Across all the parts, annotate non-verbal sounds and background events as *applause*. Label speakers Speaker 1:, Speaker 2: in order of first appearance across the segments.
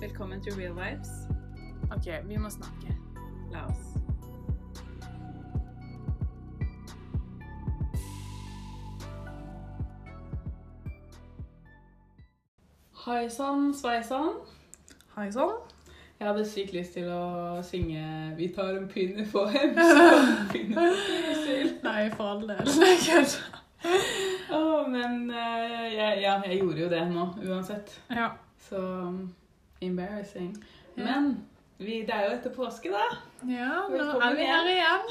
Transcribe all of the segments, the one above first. Speaker 1: Velkommen til Real Vibes.
Speaker 2: OK, vi må snakke.
Speaker 1: La oss. Hei sann, sveisann.
Speaker 2: Hei sånn. *laughs* sann.
Speaker 1: Jeg hadde sykt lyst til å synge 'Vi tar en pinne på *laughs* en pinne'.
Speaker 2: Nei, for all del. *laughs* Nei, kødd.
Speaker 1: Åh, men eh, jeg, ja, jeg gjorde jo det nå, uansett.
Speaker 2: Ja.
Speaker 1: Så um, embarrassing.
Speaker 2: Ja.
Speaker 1: Men vi, det er jo etter påske, da.
Speaker 2: ja, nå
Speaker 1: Velkommen
Speaker 2: er vi her igjen.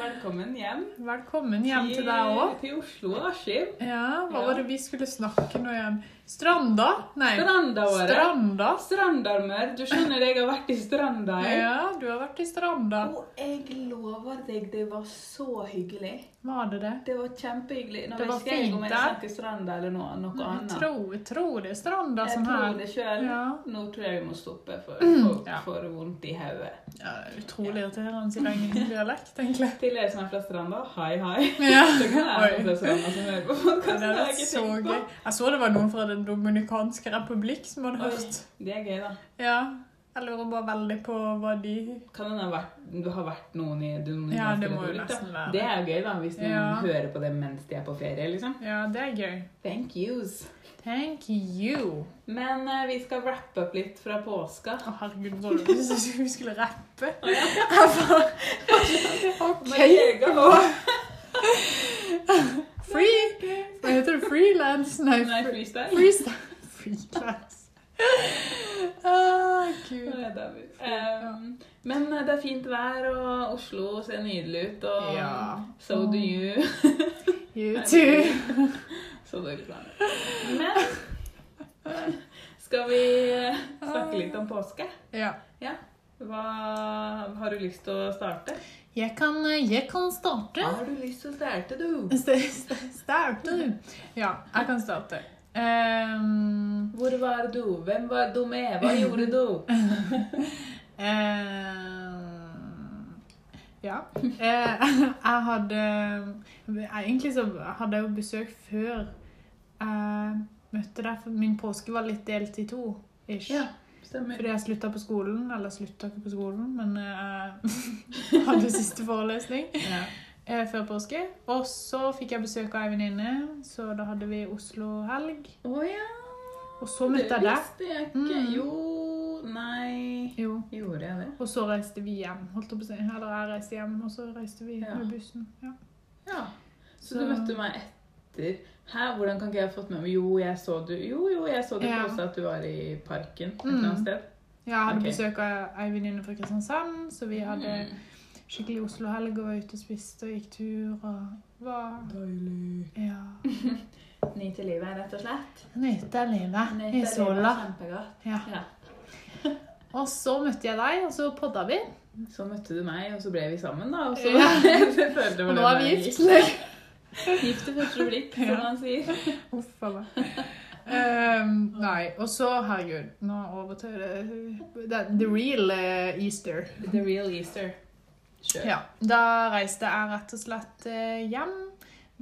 Speaker 1: Velkommen hjem.
Speaker 2: Velkommen hjem til deg òg.
Speaker 1: Til Oslo og Askim.
Speaker 2: Ja, hva
Speaker 1: Ja.
Speaker 2: var det vi skulle snakke nå igjen? Stranda? Nei,
Speaker 1: Strandåret.
Speaker 2: Stranda.
Speaker 1: Strandarmer. Du skjønner, jeg har vært i stranda. jeg.
Speaker 2: Ja, du har vært i Stranda.
Speaker 1: Og jeg lover deg, det var så hyggelig.
Speaker 2: Var det det?
Speaker 1: Det var kjempehyggelig. Nå
Speaker 2: Det var
Speaker 1: vet ikke jeg om
Speaker 2: fint
Speaker 1: jeg
Speaker 2: der.
Speaker 1: snakker stranda eller noe, noe
Speaker 2: Jeg
Speaker 1: annet.
Speaker 2: tror, jeg tror det er Stranda
Speaker 1: Jeg
Speaker 2: som
Speaker 1: tror
Speaker 2: her.
Speaker 1: det sjøl.
Speaker 2: Ja.
Speaker 1: Nå tror jeg jeg må stoppe, for
Speaker 2: *clears throat*
Speaker 1: folk
Speaker 2: Ja.
Speaker 1: får vondt i hodet.
Speaker 2: ja, Utrolig irriterende i *laughs* egen dialekt, egentlig.
Speaker 1: Til dere som er fra stranda, hei, hei.
Speaker 2: *laughs* Ja.
Speaker 1: Det kan være
Speaker 2: Oi.
Speaker 1: noen fra stranda som
Speaker 2: *laughs*
Speaker 1: hører på
Speaker 2: Det
Speaker 1: podkasten.
Speaker 2: er så gøy. Jeg så det var noen fra Den dominikanske republikk som hadde
Speaker 1: Oi.
Speaker 2: hørt.
Speaker 1: Det er gøy, da.
Speaker 2: Ja. Jeg lurer bare veldig på hva de
Speaker 1: Kan det ha vært, det har vært noen i Dominikansk
Speaker 2: Ja, det må jo
Speaker 1: Republikk, da?
Speaker 2: nesten være.
Speaker 1: Det er jo gøy, da, hvis noen
Speaker 2: Ja.
Speaker 1: hører på det mens de er på ferie, liksom.
Speaker 2: Ja, det er gøy.
Speaker 1: Thank yous.
Speaker 2: Thank you.
Speaker 1: Men eh, vi skal wrappe opp litt fra påska.
Speaker 2: Å, herregud, hva var det du syntes vi skulle rappe? Jeg bare- OK.
Speaker 1: *laughs* Okay.
Speaker 2: Free Hva heter det? Freelance? Nei,
Speaker 1: Nei,
Speaker 2: fre-
Speaker 1: freestyle.
Speaker 2: freestyle. Freelance. Å, gud.
Speaker 1: Nei, det er vi. Um, men eh, det er fint vær, og Oslo ser nydelig ut. Og
Speaker 2: Ja.
Speaker 1: so do you. *laughs*
Speaker 2: You too.
Speaker 1: Så dårlig plan. Men eh, skal vi eh, snakke litt om påske?
Speaker 2: Ja.
Speaker 1: Hva Har du lyst til å starte?
Speaker 2: Jeg kan, jeg kan starte.
Speaker 1: Har du lyst til å starte, du?
Speaker 2: St- st- Starte du? Ja, jeg kan starte. Ehm,
Speaker 1: Hvor var du? Hvem var du med? Hva gjorde du?
Speaker 2: ehm, Eh, ja.
Speaker 1: *laughs*
Speaker 2: Eh, jeg hadde jeg- Egentlig så hadde jeg jo besøk før jeg møtte deg, for min påske var litt delt i to. Ish.
Speaker 1: Ja, stemmer.
Speaker 2: Fordi jeg slutta på skolen, eller slutta ikke på skolen, men jeg *laughs* hadde siste forelesning.
Speaker 1: Ja.
Speaker 2: eh, før påske. Og så fikk jeg besøk av ei venninne, så da hadde vi Oslo-helg.
Speaker 1: Å ja.
Speaker 2: Og så møtte
Speaker 1: Det
Speaker 2: jeg deg.
Speaker 1: visste jeg ikke.
Speaker 2: Mm.
Speaker 1: Jo Nei
Speaker 2: Jo.
Speaker 1: Gjorde jeg det?
Speaker 2: Og så reiste vi hjem, holdt jeg på å si. Eller jeg reiste hjem, og så reiste vi
Speaker 1: Ja.
Speaker 2: med bussen. Ja.
Speaker 1: Ja. Så du møtte meg etter Hæ, hvordan kan ikke jeg ha fått med meg Jo, jeg så du Jo, jo, jeg så du
Speaker 2: Ja.
Speaker 1: påstå at du var i parken et
Speaker 2: Mm.
Speaker 1: eller annet sted.
Speaker 2: Ja, jeg hadde
Speaker 1: Ok. Mm.
Speaker 2: besøk av ei venninne fra Kristiansand, så vi hadde skikkelig Oslo-helg og var ute og spiste og gikk tur og var
Speaker 1: Deilig.
Speaker 2: Ja.
Speaker 1: Ny til livet, rett og slett.
Speaker 2: Nyte livet i sola.
Speaker 1: Kjempegodt.
Speaker 2: Ja.
Speaker 1: Ja.
Speaker 2: Og så møtte jeg deg, og så podda vi.
Speaker 1: Så møtte du meg, og så ble vi sammen, da. Og så
Speaker 2: Ja.
Speaker 1: *laughs* Jeg følte det var
Speaker 2: Og nå
Speaker 1: den
Speaker 2: er vi
Speaker 1: veien
Speaker 2: gift.
Speaker 1: gikk. Gift ved første blikk, som
Speaker 2: Ja.
Speaker 1: man sier.
Speaker 2: *laughs* Uff a meg. Ehm, nei, og så, herregud, nå over til det, det, the real eh, Easter.
Speaker 1: The real Easter. Sure.
Speaker 2: Ja, da reiste jeg rett og slett eh, hjem,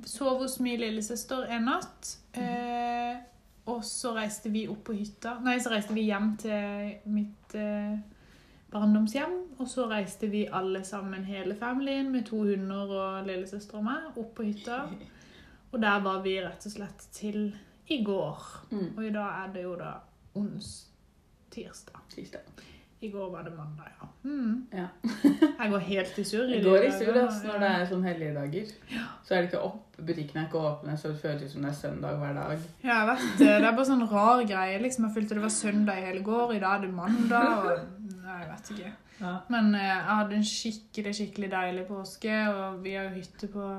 Speaker 2: sov hos min lillesøster en natt, eh, og så reiste vi opp på hytta, nei, så reiste vi hjem til mitt eh, barndomshjem, og så reiste vi alle sammen, hele familien, med to hunder og lillesøster og meg, opp på hytta, og der var vi rett og slett til i går.
Speaker 1: Mm.
Speaker 2: Og i dag er det jo da ons tirsdag.
Speaker 1: Tirsdag.
Speaker 2: I går var det mandag, ja. Mm.
Speaker 1: Ja.
Speaker 2: *laughs* Jeg går helt i surr.
Speaker 1: Det
Speaker 2: de
Speaker 1: går i
Speaker 2: dagene,
Speaker 1: surr altså, når det
Speaker 2: ja.
Speaker 1: er sånn helligdager. Så er det ikke opp, butikkene er ikke åpne, så det føles som det er søndag hver dag.
Speaker 2: Ja, jeg vet det. Det er bare sånn rar greie. liksom. Jeg følte det var søndag i hele går, i dag er det mandag.
Speaker 1: *laughs*
Speaker 2: og... Nei, jeg vet ikke.
Speaker 1: Ja.
Speaker 2: Men eh, jeg hadde en skikkelig, skikkelig deilig påske, og vi har jo hytte på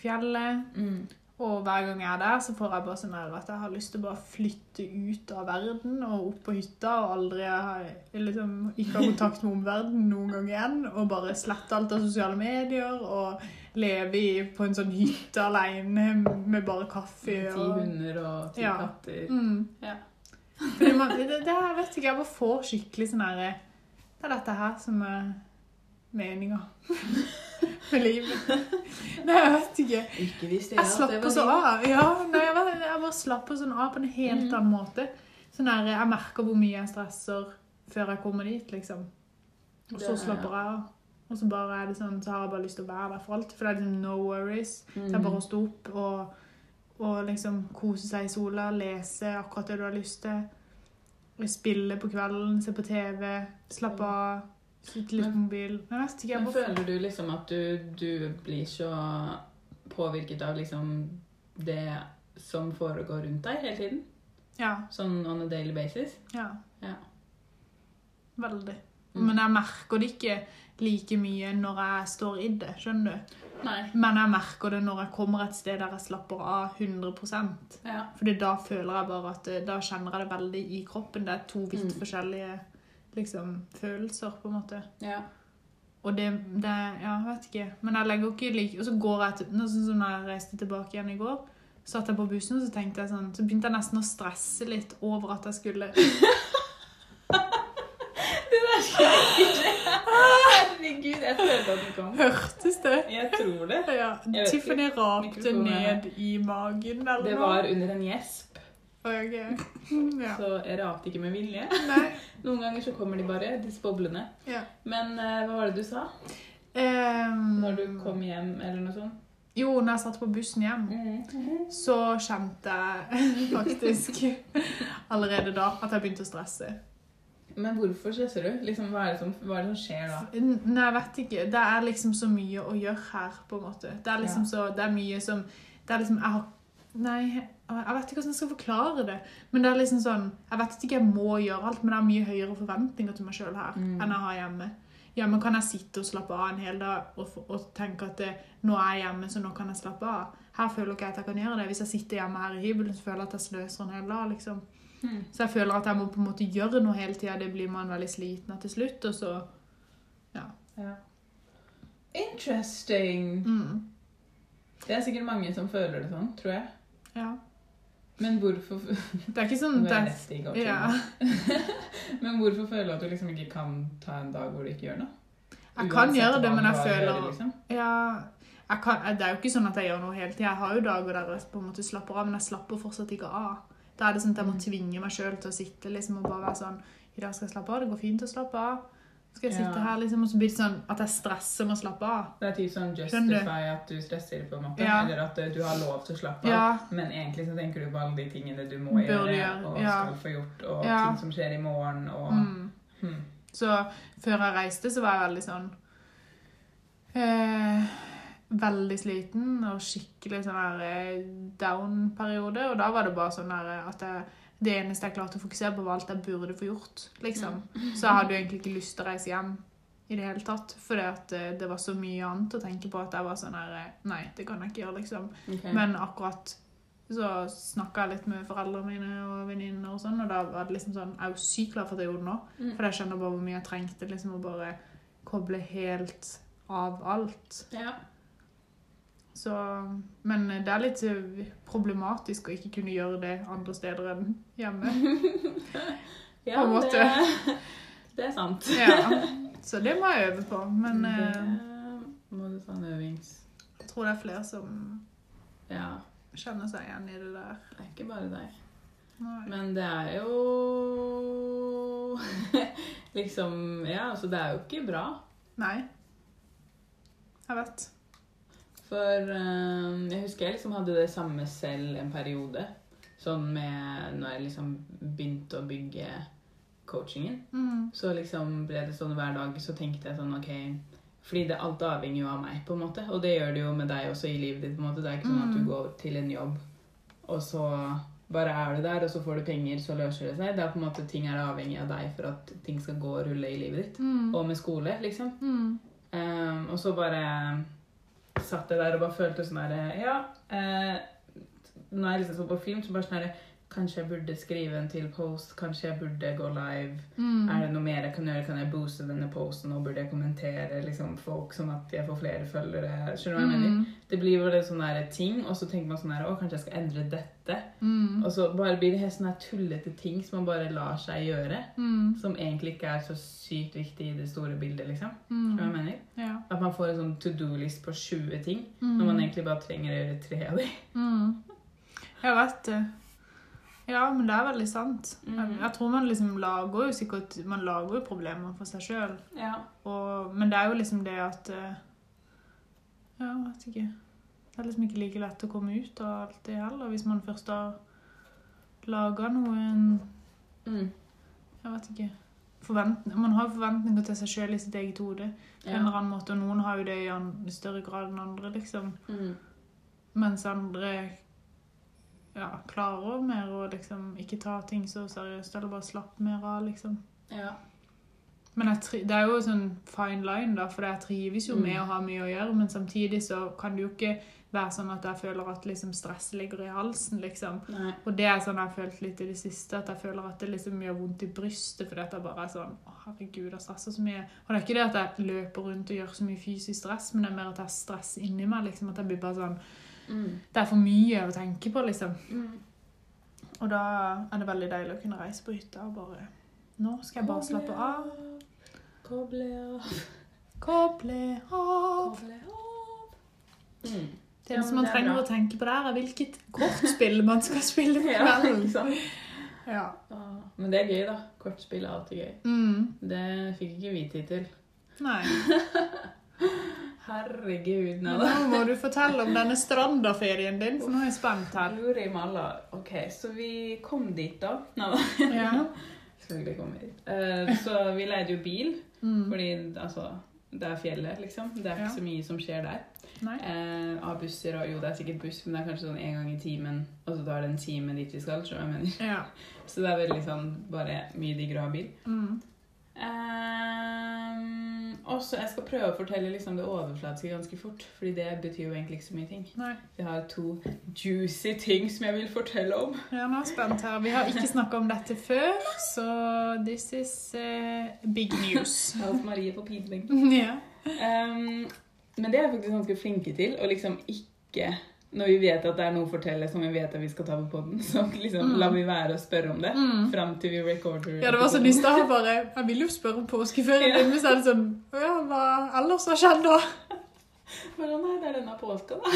Speaker 2: fjellet.
Speaker 1: Mm.
Speaker 2: Og hver gang jeg er der, så får jeg bare sånn her at jeg har lyst til å bare flytte ut av verden og opp på hytta og aldri ha, liksom, ikke ha kontakt med omverdenen noen gang igjen. Og bare slette alt av sosiale medier og leve i, på en sånn hytte alene med bare kaffe.
Speaker 1: Ti
Speaker 2: Og,
Speaker 1: hunder og ti
Speaker 2: Ja.
Speaker 1: katter.
Speaker 2: mm.
Speaker 1: Ja.
Speaker 2: Fordi man, det, det her vet ikke, jeg bare får skikkelig sånn her Det er dette her som er meninga *laughs* med livet. Nei, jeg vet ikke.
Speaker 1: Ikke hvis det
Speaker 2: sånn
Speaker 1: Mm.
Speaker 2: Jeg slapper så av. Ja, nei, jeg, bare, jeg bare slapper sånn av på en helt annen måte. Sånn her, jeg merker hvor mye jeg stresser før jeg kommer dit, liksom. Og
Speaker 1: Det
Speaker 2: så
Speaker 1: er-
Speaker 2: slapper jeg av. Og så bare er det sånn, så har jeg bare lyst til å være der for alt. For det er liksom no worries. Det
Speaker 1: Mm.
Speaker 2: er bare å stå opp og, og liksom kose seg i sola, lese akkurat det du har lyst til. Spille på kvelden, se på TV, slappe av, sitte litt på mobilen. Jeg vet ikke, jeg
Speaker 1: Mm. Men
Speaker 2: bare
Speaker 1: føler du liksom at du, du blir så påvirket av liksom det som foregår rundt deg hele tiden?
Speaker 2: Ja,
Speaker 1: Sånn on a daily basis?
Speaker 2: ja.
Speaker 1: Ja.
Speaker 2: Veldig.
Speaker 1: Mm.
Speaker 2: Men jeg merker det ikke like mye når jeg står i det, skjønner du?
Speaker 1: Nei.
Speaker 2: Men jeg merker det når jeg kommer et sted der jeg slapper av 100
Speaker 1: Ja.
Speaker 2: Fordi da føler jeg bare at eh, Da kjenner jeg det veldig i kroppen. Det er to vidt
Speaker 1: Mm.
Speaker 2: forskjellige liksom, følelser, på en måte.
Speaker 1: ja.
Speaker 2: Og det, det Ja, jeg vet ikke. Men jeg legger jo ikke like Og så går jeg til nå, Sånn som når jeg reiste tilbake igjen i går, satt jeg på bussen, og så tenkte jeg sånn Så begynte jeg nesten å stresse litt over at jeg skulle *laughs*
Speaker 1: Det der skal jeg ikke *laughs* Herregud, jeg følte at den kom.
Speaker 2: Hørtes det?
Speaker 1: Jeg tror det.
Speaker 2: Ja,
Speaker 1: vet
Speaker 2: Tiffany rapte
Speaker 1: Mikrofonen er
Speaker 2: ned i magen eller
Speaker 1: Det var under en gjesp,
Speaker 2: noe.
Speaker 1: *laughs*
Speaker 2: Ok. Ja.
Speaker 1: så jeg rapte ikke med vilje.
Speaker 2: Nei.
Speaker 1: Noen ganger så kommer de bare, disse boblene.
Speaker 2: Ja.
Speaker 1: Men eh, hva var det du sa
Speaker 2: Ehm,
Speaker 1: når du kom hjem, eller noe sånt?
Speaker 2: Jo, når jeg satt på bussen hjem, så kjente jeg *laughs* faktisk allerede da at jeg begynte å stresse.
Speaker 1: Men hvorfor stresser du? Liksom, hva, er det som, hva er det som skjer da?
Speaker 2: N- Nei, jeg vet ikke. Det er liksom så mye å gjøre her, på en måte. Det er liksom så Det er mye som Det er liksom Jeg har Nei, jeg vet ikke hvordan jeg skal forklare det. Men det er liksom sånn Jeg vet at ikke jeg må gjøre alt, men jeg har mye høyere forventninger til meg sjøl her
Speaker 1: Mm.
Speaker 2: enn jeg har hjemme. Hjemme kan jeg sitte og slappe av en hel dag og, få- og tenke at eh, nå er jeg hjemme, så nå kan jeg slappe av. Her føler ikke jeg at jeg kan gjøre det. Hvis jeg sitter hjemme her i hybelen, så føler jeg at jeg sløser en hel dag, liksom.
Speaker 1: Mm.
Speaker 2: Så jeg føler at jeg må på en måte gjøre noe hele tida. Det blir man veldig sliten av til slutt, og så
Speaker 1: Ja. Interesting!
Speaker 2: mm.
Speaker 1: Det er sikkert mange som føler det sånn, tror jeg.
Speaker 2: Ja.
Speaker 1: Men hvorfor
Speaker 2: Det er ikke sånn
Speaker 1: Nå
Speaker 2: det
Speaker 1: er jeg
Speaker 2: er,
Speaker 1: rett i går,
Speaker 2: ja.
Speaker 1: *laughs* Men hvorfor føler du at du liksom ikke kan ta en dag hvor du ikke gjør noe?
Speaker 2: Jeg kan
Speaker 1: Uansett
Speaker 2: gjøre det,
Speaker 1: hva
Speaker 2: men
Speaker 1: du
Speaker 2: jeg
Speaker 1: har å
Speaker 2: føler
Speaker 1: gjøre, liksom.
Speaker 2: ja, jeg kan, Det er jo ikke sånn at jeg gjør noe hele tida. Jeg har jo dager der jeg på en måte slapper av, men jeg slapper fortsatt ikke av. Da er det sånn at jeg
Speaker 1: Mm.
Speaker 2: må tvinge meg sjøl til å sitte liksom, og bare være sånn I dag skal jeg slappe av. Det går fint å slappe av. Så skal jeg sitte
Speaker 1: Ja.
Speaker 2: her, liksom, og så blir det sånn at jeg stresser med å slappe av.
Speaker 1: Det er typ sånn
Speaker 2: Skjønner du?
Speaker 1: justify at du stresser, på en måte.
Speaker 2: Ja.
Speaker 1: Eller at eh, du har lov til å slappe av.
Speaker 2: Ja,
Speaker 1: Men egentlig så tenker du på alle de tingene du må
Speaker 2: Burde
Speaker 1: gjøre,
Speaker 2: gjøre,
Speaker 1: og
Speaker 2: ja.
Speaker 1: skal få gjort, og
Speaker 2: Ja.
Speaker 1: ting som skjer i morgen, og
Speaker 2: mm.
Speaker 1: hmm.
Speaker 2: Så før jeg reiste, så var jeg veldig sånn eh, Veldig sliten og skikkelig sånn her eh, down-periode. Og da var det bare sånn her eh, at jeg, det eneste jeg klarte å fokusere på, var alt jeg burde få gjort. liksom. Så jeg hadde jo egentlig ikke lyst til å reise hjem i det hele tatt. For det var så mye annet å tenke på at jeg var sånn her eh, Nei, det kan jeg ikke gjøre, liksom.
Speaker 1: ok.
Speaker 2: Men akkurat så snakka jeg litt med foreldrene mine og venninner, og sånn, og da var det liksom sånn Jeg er jo sykt glad for at jeg gjorde det nå,
Speaker 1: Mm.
Speaker 2: for jeg skjønner bare hvor mye jeg trengte liksom å bare koble helt av alt.
Speaker 1: ja.
Speaker 2: Så Men det er litt eh, problematisk å ikke kunne gjøre det andre steder enn hjemme.
Speaker 1: ja,
Speaker 2: På en måte.
Speaker 1: Det, *laughs* det er sant.
Speaker 2: Ja. Så det må jeg øve på.
Speaker 1: Mm.
Speaker 2: Men eh,
Speaker 1: Det må du ta en øvings...
Speaker 2: jeg tror det er flere som
Speaker 1: Ja,
Speaker 2: kjenner seg igjen i det der.
Speaker 1: det er ikke bare deg.
Speaker 2: Nei.
Speaker 1: Men det er jo *laughs* Liksom Ja, altså, det er jo ikke bra.
Speaker 2: Nei. Jeg vet.
Speaker 1: For eh, jeg husker jeg liksom hadde det samme selv en periode. Sånn med når jeg liksom begynte å bygge coachingen.
Speaker 2: Mm.
Speaker 1: Så liksom ble det sånn hver dag så tenkte jeg sånn OK Fordi det alt avhenger jo av meg, på en måte. Og det gjør det jo med deg også i livet ditt. på en måte. Det er ikke sånn at du
Speaker 2: Mm.
Speaker 1: går til en jobb, og så bare er du der, og så får du penger, så løser det seg. Det er på en måte Ting er avhengig av deg for at ting skal gå og rulle i livet ditt.
Speaker 2: Mm.
Speaker 1: Og med skole, liksom.
Speaker 2: Mm.
Speaker 1: Ehm, og så bare satt jeg der og bare følte sånn herre Ja. eh, når jeg liksom så på film, så bare sånn herre Kanskje jeg burde skrive en til post? Kanskje jeg burde gå live?
Speaker 2: Mm.
Speaker 1: Er det noe mer jeg kan gjøre? Kan jeg booste denne posten? Og burde jeg kommentere liksom, folk sånn at jeg får flere følgere? Skjønner du hva jeg mener?
Speaker 2: Mm.
Speaker 1: Det blir bare sånne der ting, og så tenker man sånn her Å, kanskje jeg skal endre dette?
Speaker 2: Mm.
Speaker 1: Og så bare blir det helt sånne her tullete ting som man bare lar seg gjøre.
Speaker 2: Mm.
Speaker 1: Som egentlig ikke er så sykt viktig i det store bildet, liksom. Skjønner du hva
Speaker 2: Mm.
Speaker 1: jeg mener?
Speaker 2: Ja.
Speaker 1: At man får en sånn to do-list på 20 ting,
Speaker 2: Mm. *laughs*
Speaker 1: når man egentlig bare trenger å gjøre tre av dem.
Speaker 2: mm. Jeg vet det. Ja, men det er veldig sant.
Speaker 1: Mhm.
Speaker 2: Jeg tror man liksom lager jo sikkert Man lager jo problemer for seg sjøl.
Speaker 1: Ja.
Speaker 2: Men det er jo liksom det at eh, Ja, jeg vet ikke. Det er liksom ikke like lett å komme ut av alt det heller, hvis man først har laga noen
Speaker 1: Mm.
Speaker 2: Jeg vet ikke. Forvent, man har jo forventninger til seg sjøl i sitt eget hode. På en
Speaker 1: ja.
Speaker 2: eller annen måte, Og noen har jo det i an- større grad enn andre, liksom.
Speaker 1: Mm.
Speaker 2: Mens andre ja, klarer mer å liksom ikke ta ting så seriøst, eller bare slappe mer av, liksom.
Speaker 1: ja.
Speaker 2: Men jeg tri det er jo sånn fine line, da, for jeg trives jo med
Speaker 1: Mm.
Speaker 2: å ha mye å gjøre, men samtidig så kan det jo ikke være sånn at jeg føler at liksom stress ligger i halsen, liksom.
Speaker 1: Nei.
Speaker 2: Og det er sånn jeg har følt litt i det siste, at jeg føler at det liksom gjør vondt i brystet fordi at jeg bare er sånn Å, herregud, jeg stresser så mye. Og det er ikke det at jeg løper rundt og gjør så mye fysisk stress, men det er mer at jeg har stress inni meg, liksom. At jeg blir bare sånn
Speaker 1: Mm.
Speaker 2: Det er for mye å tenke på, liksom.
Speaker 1: Mm.
Speaker 2: Og da er det veldig deilig å kunne reise på hytta og bare Nå skal jeg bare slappe av.
Speaker 1: Koble av.
Speaker 2: Koble av.
Speaker 1: Koble av. Mm.
Speaker 2: Det
Speaker 1: Ja,
Speaker 2: eneste
Speaker 1: men
Speaker 2: man
Speaker 1: det er
Speaker 2: trenger
Speaker 1: bra.
Speaker 2: å tenke på der, er hvilket kortspill man skal spille
Speaker 1: *laughs*
Speaker 2: på
Speaker 1: Ja,
Speaker 2: kvelden.
Speaker 1: ikke sant?
Speaker 2: Ja.
Speaker 1: Ah, Men det er gøy, da. Kortspill er alltid gøy.
Speaker 2: Mm.
Speaker 1: Det fikk ikke vi tid til.
Speaker 2: Nei.
Speaker 1: Herregud,
Speaker 2: Men
Speaker 1: Nada.
Speaker 2: Nå må du fortelle om denne strandaferien din, for nå er jeg spent her.
Speaker 1: Luri Malla. Ok, så vi kom dit, da. Nada.
Speaker 2: Ja.
Speaker 1: Selvfølgelig kom vi dit. Eh, Så vi leide jo bil,
Speaker 2: Mm.
Speaker 1: fordi altså det er fjellet, liksom. Det er ikke
Speaker 2: Ja.
Speaker 1: så mye som skjer der.
Speaker 2: Nei.
Speaker 1: Eh, Av busser og Jo, det er sikkert buss, men det er kanskje sånn én gang i timen, og så tar det en time dit vi skal. skjønner du hva Jeg mener.
Speaker 2: Ja.
Speaker 1: Så det er veldig sånn bare mye diggere å ha bil.
Speaker 2: Mm.
Speaker 1: Um, også, jeg skal prøve å fortelle liksom det overflatiske ganske fort, fordi det betyr jo egentlig ikke så mye ting.
Speaker 2: Nei.
Speaker 1: Jeg har to juicy ting som jeg vil fortelle om.
Speaker 2: Ja, nå er jeg spent her. Vi har ikke snakka om dette før, så this is eh, big
Speaker 1: *laughs*
Speaker 2: news.
Speaker 1: Alt Marie på pinling.
Speaker 2: Ja.
Speaker 1: Um, men det er jeg faktisk ganske flinke til, å liksom ikke Når vi vet at det er noe å fortelle som vi vet at vi skal ta på poden, så liksom
Speaker 2: Mm.
Speaker 1: lar vi være å spørre om det
Speaker 2: Mm.
Speaker 1: fram til vi recorder.
Speaker 2: Ja, det var sånn i stad bare Jeg ville jo spørre om påskeferien din, men så er det sånn «Å Ja, hva ellers har skjedd, da?
Speaker 1: Bare, Nei, det er denne påska, da.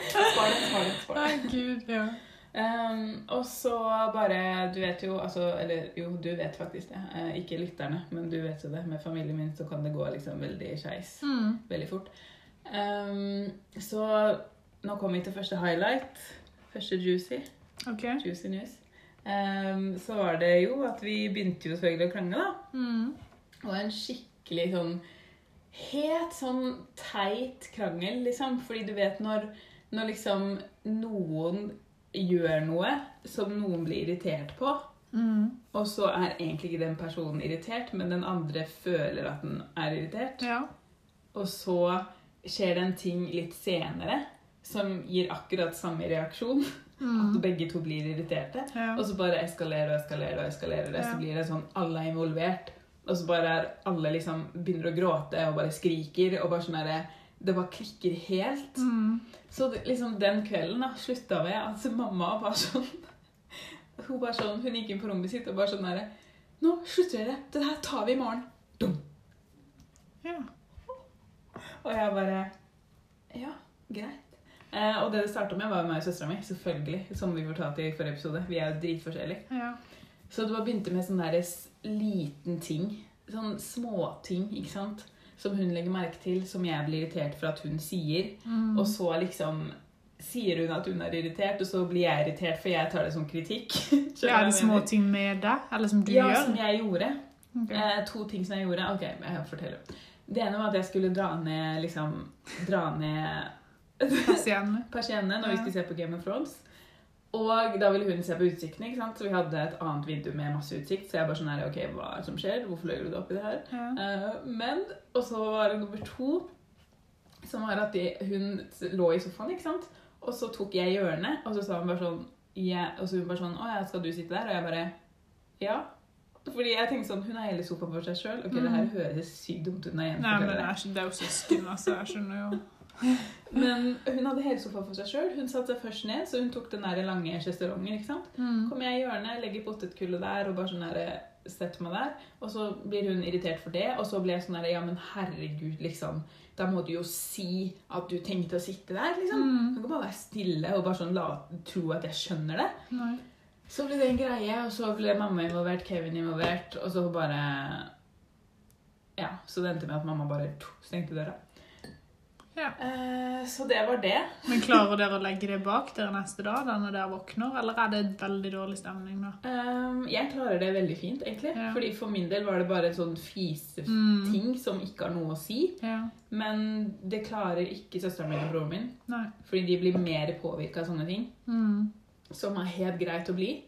Speaker 1: Spar det, spar det, spar det.
Speaker 2: Nei, gud, ja.
Speaker 1: Ehm, og så bare Du vet jo altså Eller jo, du vet faktisk det. Eh, ikke lytterne, men du vet jo det. Med familien min så kan det gå liksom veldig skeis
Speaker 2: Mm.
Speaker 1: veldig fort. Ehm, så nå kommer vi til første highlight. Første juicy.
Speaker 2: OK.
Speaker 1: Juicy news. Ehm, så var det jo at vi begynte jo selvfølgelig å krangle, da.
Speaker 2: Mm.
Speaker 1: Og en skikkelig sånn helt sånn teit krangel, liksom. Fordi du vet når, når liksom noen gjør noe som noen blir irritert på,
Speaker 2: Mm.
Speaker 1: og så er egentlig ikke den personen irritert, men den andre føler at den er irritert.
Speaker 2: Ja.
Speaker 1: Og så skjer det en ting litt senere som gir akkurat samme reaksjon. At
Speaker 2: Mm.
Speaker 1: begge to blir irriterte.
Speaker 2: ja.
Speaker 1: Og så bare eskalerer og eskalerer og eskalerer det,
Speaker 2: Ja.
Speaker 1: så blir det sånn alle er involvert. Og så bare er alle liksom begynner å gråte og bare skriker og bare sånn derre Det bare klikker helt.
Speaker 2: Mm.
Speaker 1: Så det, liksom den kvelden da slutta med at mamma var sånn *laughs* Hun bare sånn, hun gikk inn på rommet sitt og bare sånn derre Nå slutter dere. Det her tar vi i morgen.
Speaker 2: ja.
Speaker 1: Og jeg bare Ja, greit. Eh, og det det starta med, var jo meg og søstera mi. Selvfølgelig. Som vi fortalte i forrige episode. Vi er jo dritforskjellige.
Speaker 2: Ja.
Speaker 1: Så det bare begynte med sånn der s- liten ting. Sånn småting, ikke sant? Som hun legger merke til, som jeg blir irritert for at hun sier.
Speaker 2: Mm.
Speaker 1: Og så liksom sier hun at hun er irritert, og så blir jeg irritert, for jeg tar det som kritikk. *laughs* Skjønner du
Speaker 2: Ja, er
Speaker 1: hva
Speaker 2: det
Speaker 1: jeg
Speaker 2: små
Speaker 1: mener?
Speaker 2: ting med deg, eller som du
Speaker 1: Ja,
Speaker 2: gjør?
Speaker 1: som jeg gjorde.
Speaker 2: Ok.
Speaker 1: Eh, to ting som jeg gjorde. Ok, jeg forteller. Det ene var at jeg skulle dra ned liksom Dra ned
Speaker 2: Pasientene.
Speaker 1: persiennene når vi
Speaker 2: Ja.
Speaker 1: skulle se på Game of Thrones. Og da ville hun se på utsikten, ikke sant? så vi hadde et annet vindu med masse utsikt. Så jeg bare sånn her, ok, hva er det som skjer? Hvorfor løy du deg opp i det her?
Speaker 2: Ja.
Speaker 1: Eh, men, og så var det nummer to, som var at de, hun lå i sofaen, ikke sant? Og så tok jeg hjørnet, og så sa hun bare sånn, ja, og så hun bare sånn, åja, skal du sitte der? Og jeg bare, ja. Fordi jeg tenkte sånn, hun er hele sofaen for seg selv. Ok, det her
Speaker 2: Mm.
Speaker 1: høres sykt dumt ut når jeg
Speaker 2: Nei,
Speaker 1: forteller
Speaker 2: men det
Speaker 1: det.
Speaker 2: er, det er jo søsken, altså. Jeg skjønner jo.
Speaker 1: Men hun hadde hele sofaen for seg sjøl. Hun satte seg først ned, så hun tok den der lange sjesterongen. ikke sant?
Speaker 2: Mm.
Speaker 1: Kommer jeg i hjørnet, legger potetgullet der og bare sånn der, setter meg der. Og så blir hun irritert for det, og så blir jeg sånn der, ja, men herregud, liksom. Da må du jo si at du tenkte å sitte der, liksom. Du
Speaker 2: Mm.
Speaker 1: kan ikke bare være stille og bare sånn la, tro at jeg skjønner det.
Speaker 2: Nei.
Speaker 1: Så ble det en greie, og så ble mamma involvert, Kevin involvert, og så bare Ja, så det endte med at mamma bare stengte døra.
Speaker 2: Ja.
Speaker 1: Eh, så det var det.
Speaker 2: Men klarer dere å legge det bak dere neste dag, da når dere våkner, eller er det veldig dårlig stemning da?
Speaker 1: Ehm, jeg klarer det veldig fint, egentlig.
Speaker 2: Ja.
Speaker 1: Fordi For min del var det bare en sånn fiseting
Speaker 2: Mm.
Speaker 1: som ikke har noe å si.
Speaker 2: Ja.
Speaker 1: Men det klarer ikke søsteren min og broren min.
Speaker 2: Nei.
Speaker 1: Fordi de blir mer påvirka av sånne ting.
Speaker 2: Mm.
Speaker 1: Som er helt greit å bli.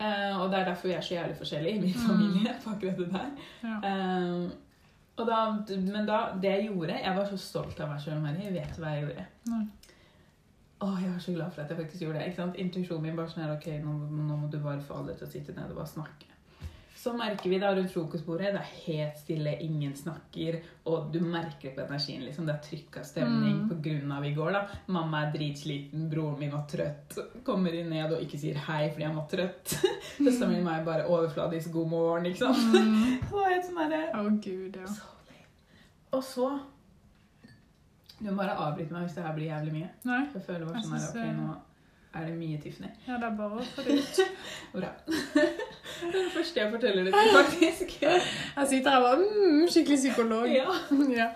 Speaker 1: Eh, og det er derfor vi er så jævlig forskjellige i min
Speaker 2: Mm.
Speaker 1: familie. *laughs* på akkurat det der.
Speaker 2: Ja.
Speaker 1: Ehm, og da, men da, det jeg gjorde Jeg var så stolt av meg selv, Mari. Jeg vet hva jeg gjorde.
Speaker 2: Nei.
Speaker 1: Åh, jeg var så glad for at jeg faktisk gjorde det. ikke sant? Intuisjonen min bare sånn her, ok, nå, nå må du bare få alle til å sitte ned og bare snakke. Så merker vi da rundt frokostbordet, det er helt stille, ingen snakker, og du merker det på energien, liksom. Det er trykk av stemning
Speaker 2: Mm.
Speaker 1: på grunn av i går, da. Mamma er dritsliten, broren min var trøtt, kommer inn ned og ikke sier hei fordi han var trøtt. *laughs* Søsteren min og meg bare overfladisk god morgen, ikke sant. *laughs*
Speaker 2: Mm.
Speaker 1: Det var helt sånn herre
Speaker 2: Å gud, ja.
Speaker 1: Så lame. Og så Du må bare avbryte meg hvis det her blir jævlig mye.
Speaker 2: Nei,
Speaker 1: Jeg føler bare
Speaker 2: Jeg
Speaker 1: sånn her,
Speaker 2: synes,
Speaker 1: ok,
Speaker 2: eh,
Speaker 1: nå er det mye Tiffany.
Speaker 2: ja, det er bare å få det ut.
Speaker 1: *laughs* Bra. Det er det første jeg forteller det til, faktisk.
Speaker 2: *laughs* Jeg sitter her og bare, mm, skikkelig psykolog.
Speaker 1: Ja.
Speaker 2: *laughs* Ja.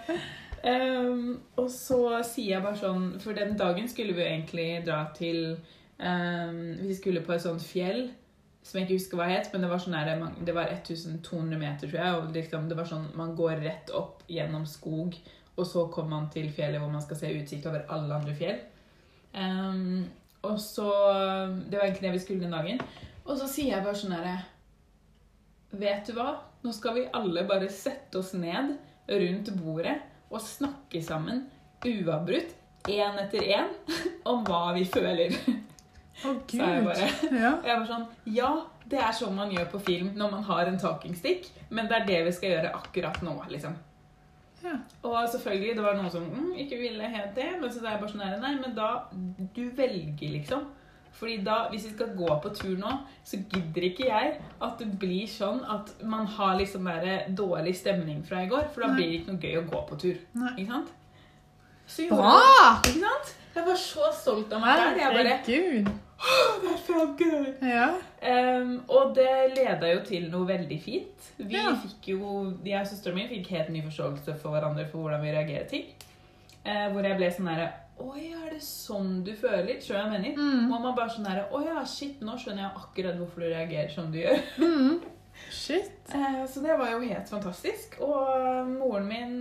Speaker 1: Ehm, og så sier jeg bare sånn For den dagen skulle vi jo egentlig dra til ehm, Vi skulle på et sånt fjell som jeg ikke husker hva het, men det var sånn her, man- det var 1200 meter, tror jeg. Og liksom, det var sånn, Man går rett opp gjennom skog, og så kommer man til fjellet hvor man skal se utsikt over alle andre fjell. Ehm, og så Det var egentlig det vi skulle den dagen. Og så sier jeg bare sånn herre Vet du hva? Nå skal vi alle bare sette oss ned rundt bordet og snakke sammen uavbrutt, én etter én, *laughs* om hva vi føler.
Speaker 2: Å
Speaker 1: Så er jeg
Speaker 2: gud.
Speaker 1: bare
Speaker 2: Ja.
Speaker 1: og jeg var sånn Ja, det er sånn man gjør på film når man har en talking stick, men det er det vi skal gjøre akkurat nå, liksom.
Speaker 2: Ja.
Speaker 1: Og selvfølgelig, det var noen som mm, ikke ville helt det, men så er jeg bare sånn her Nei, men da Du velger, liksom. Fordi da, hvis vi skal gå på tur nå, så gidder ikke jeg at det blir sånn at man har liksom bare dårlig stemning fra i går, for da
Speaker 2: Nei.
Speaker 1: blir det ikke noe gøy å gå på tur.
Speaker 2: Nei.
Speaker 1: Ikke sant? Så gjorde jeg det,
Speaker 2: Bra!
Speaker 1: Ikke sant? Jeg var så stolt av meg selv. Jeg bare
Speaker 2: Herregud.
Speaker 1: «Å, Det er så gøy!
Speaker 2: Ja.
Speaker 1: Ehm, og det leda jo til noe veldig fint. Vi
Speaker 2: Ja.
Speaker 1: fikk jo, Jeg og søsteren min fikk helt ny forståelse for hverandre for hvordan vi reagerer ting. Eh, hvor jeg ble sånn herre Oi, er det sånn du føler? Skjønner du hva jeg mener?
Speaker 2: Mm.
Speaker 1: Mamma bare sånn herre Å ja, shit, nå skjønner jeg akkurat hvorfor du reagerer som du gjør.
Speaker 2: *laughs* Mm. Shit.
Speaker 1: Eh, så det var jo helt fantastisk. Og eh, moren min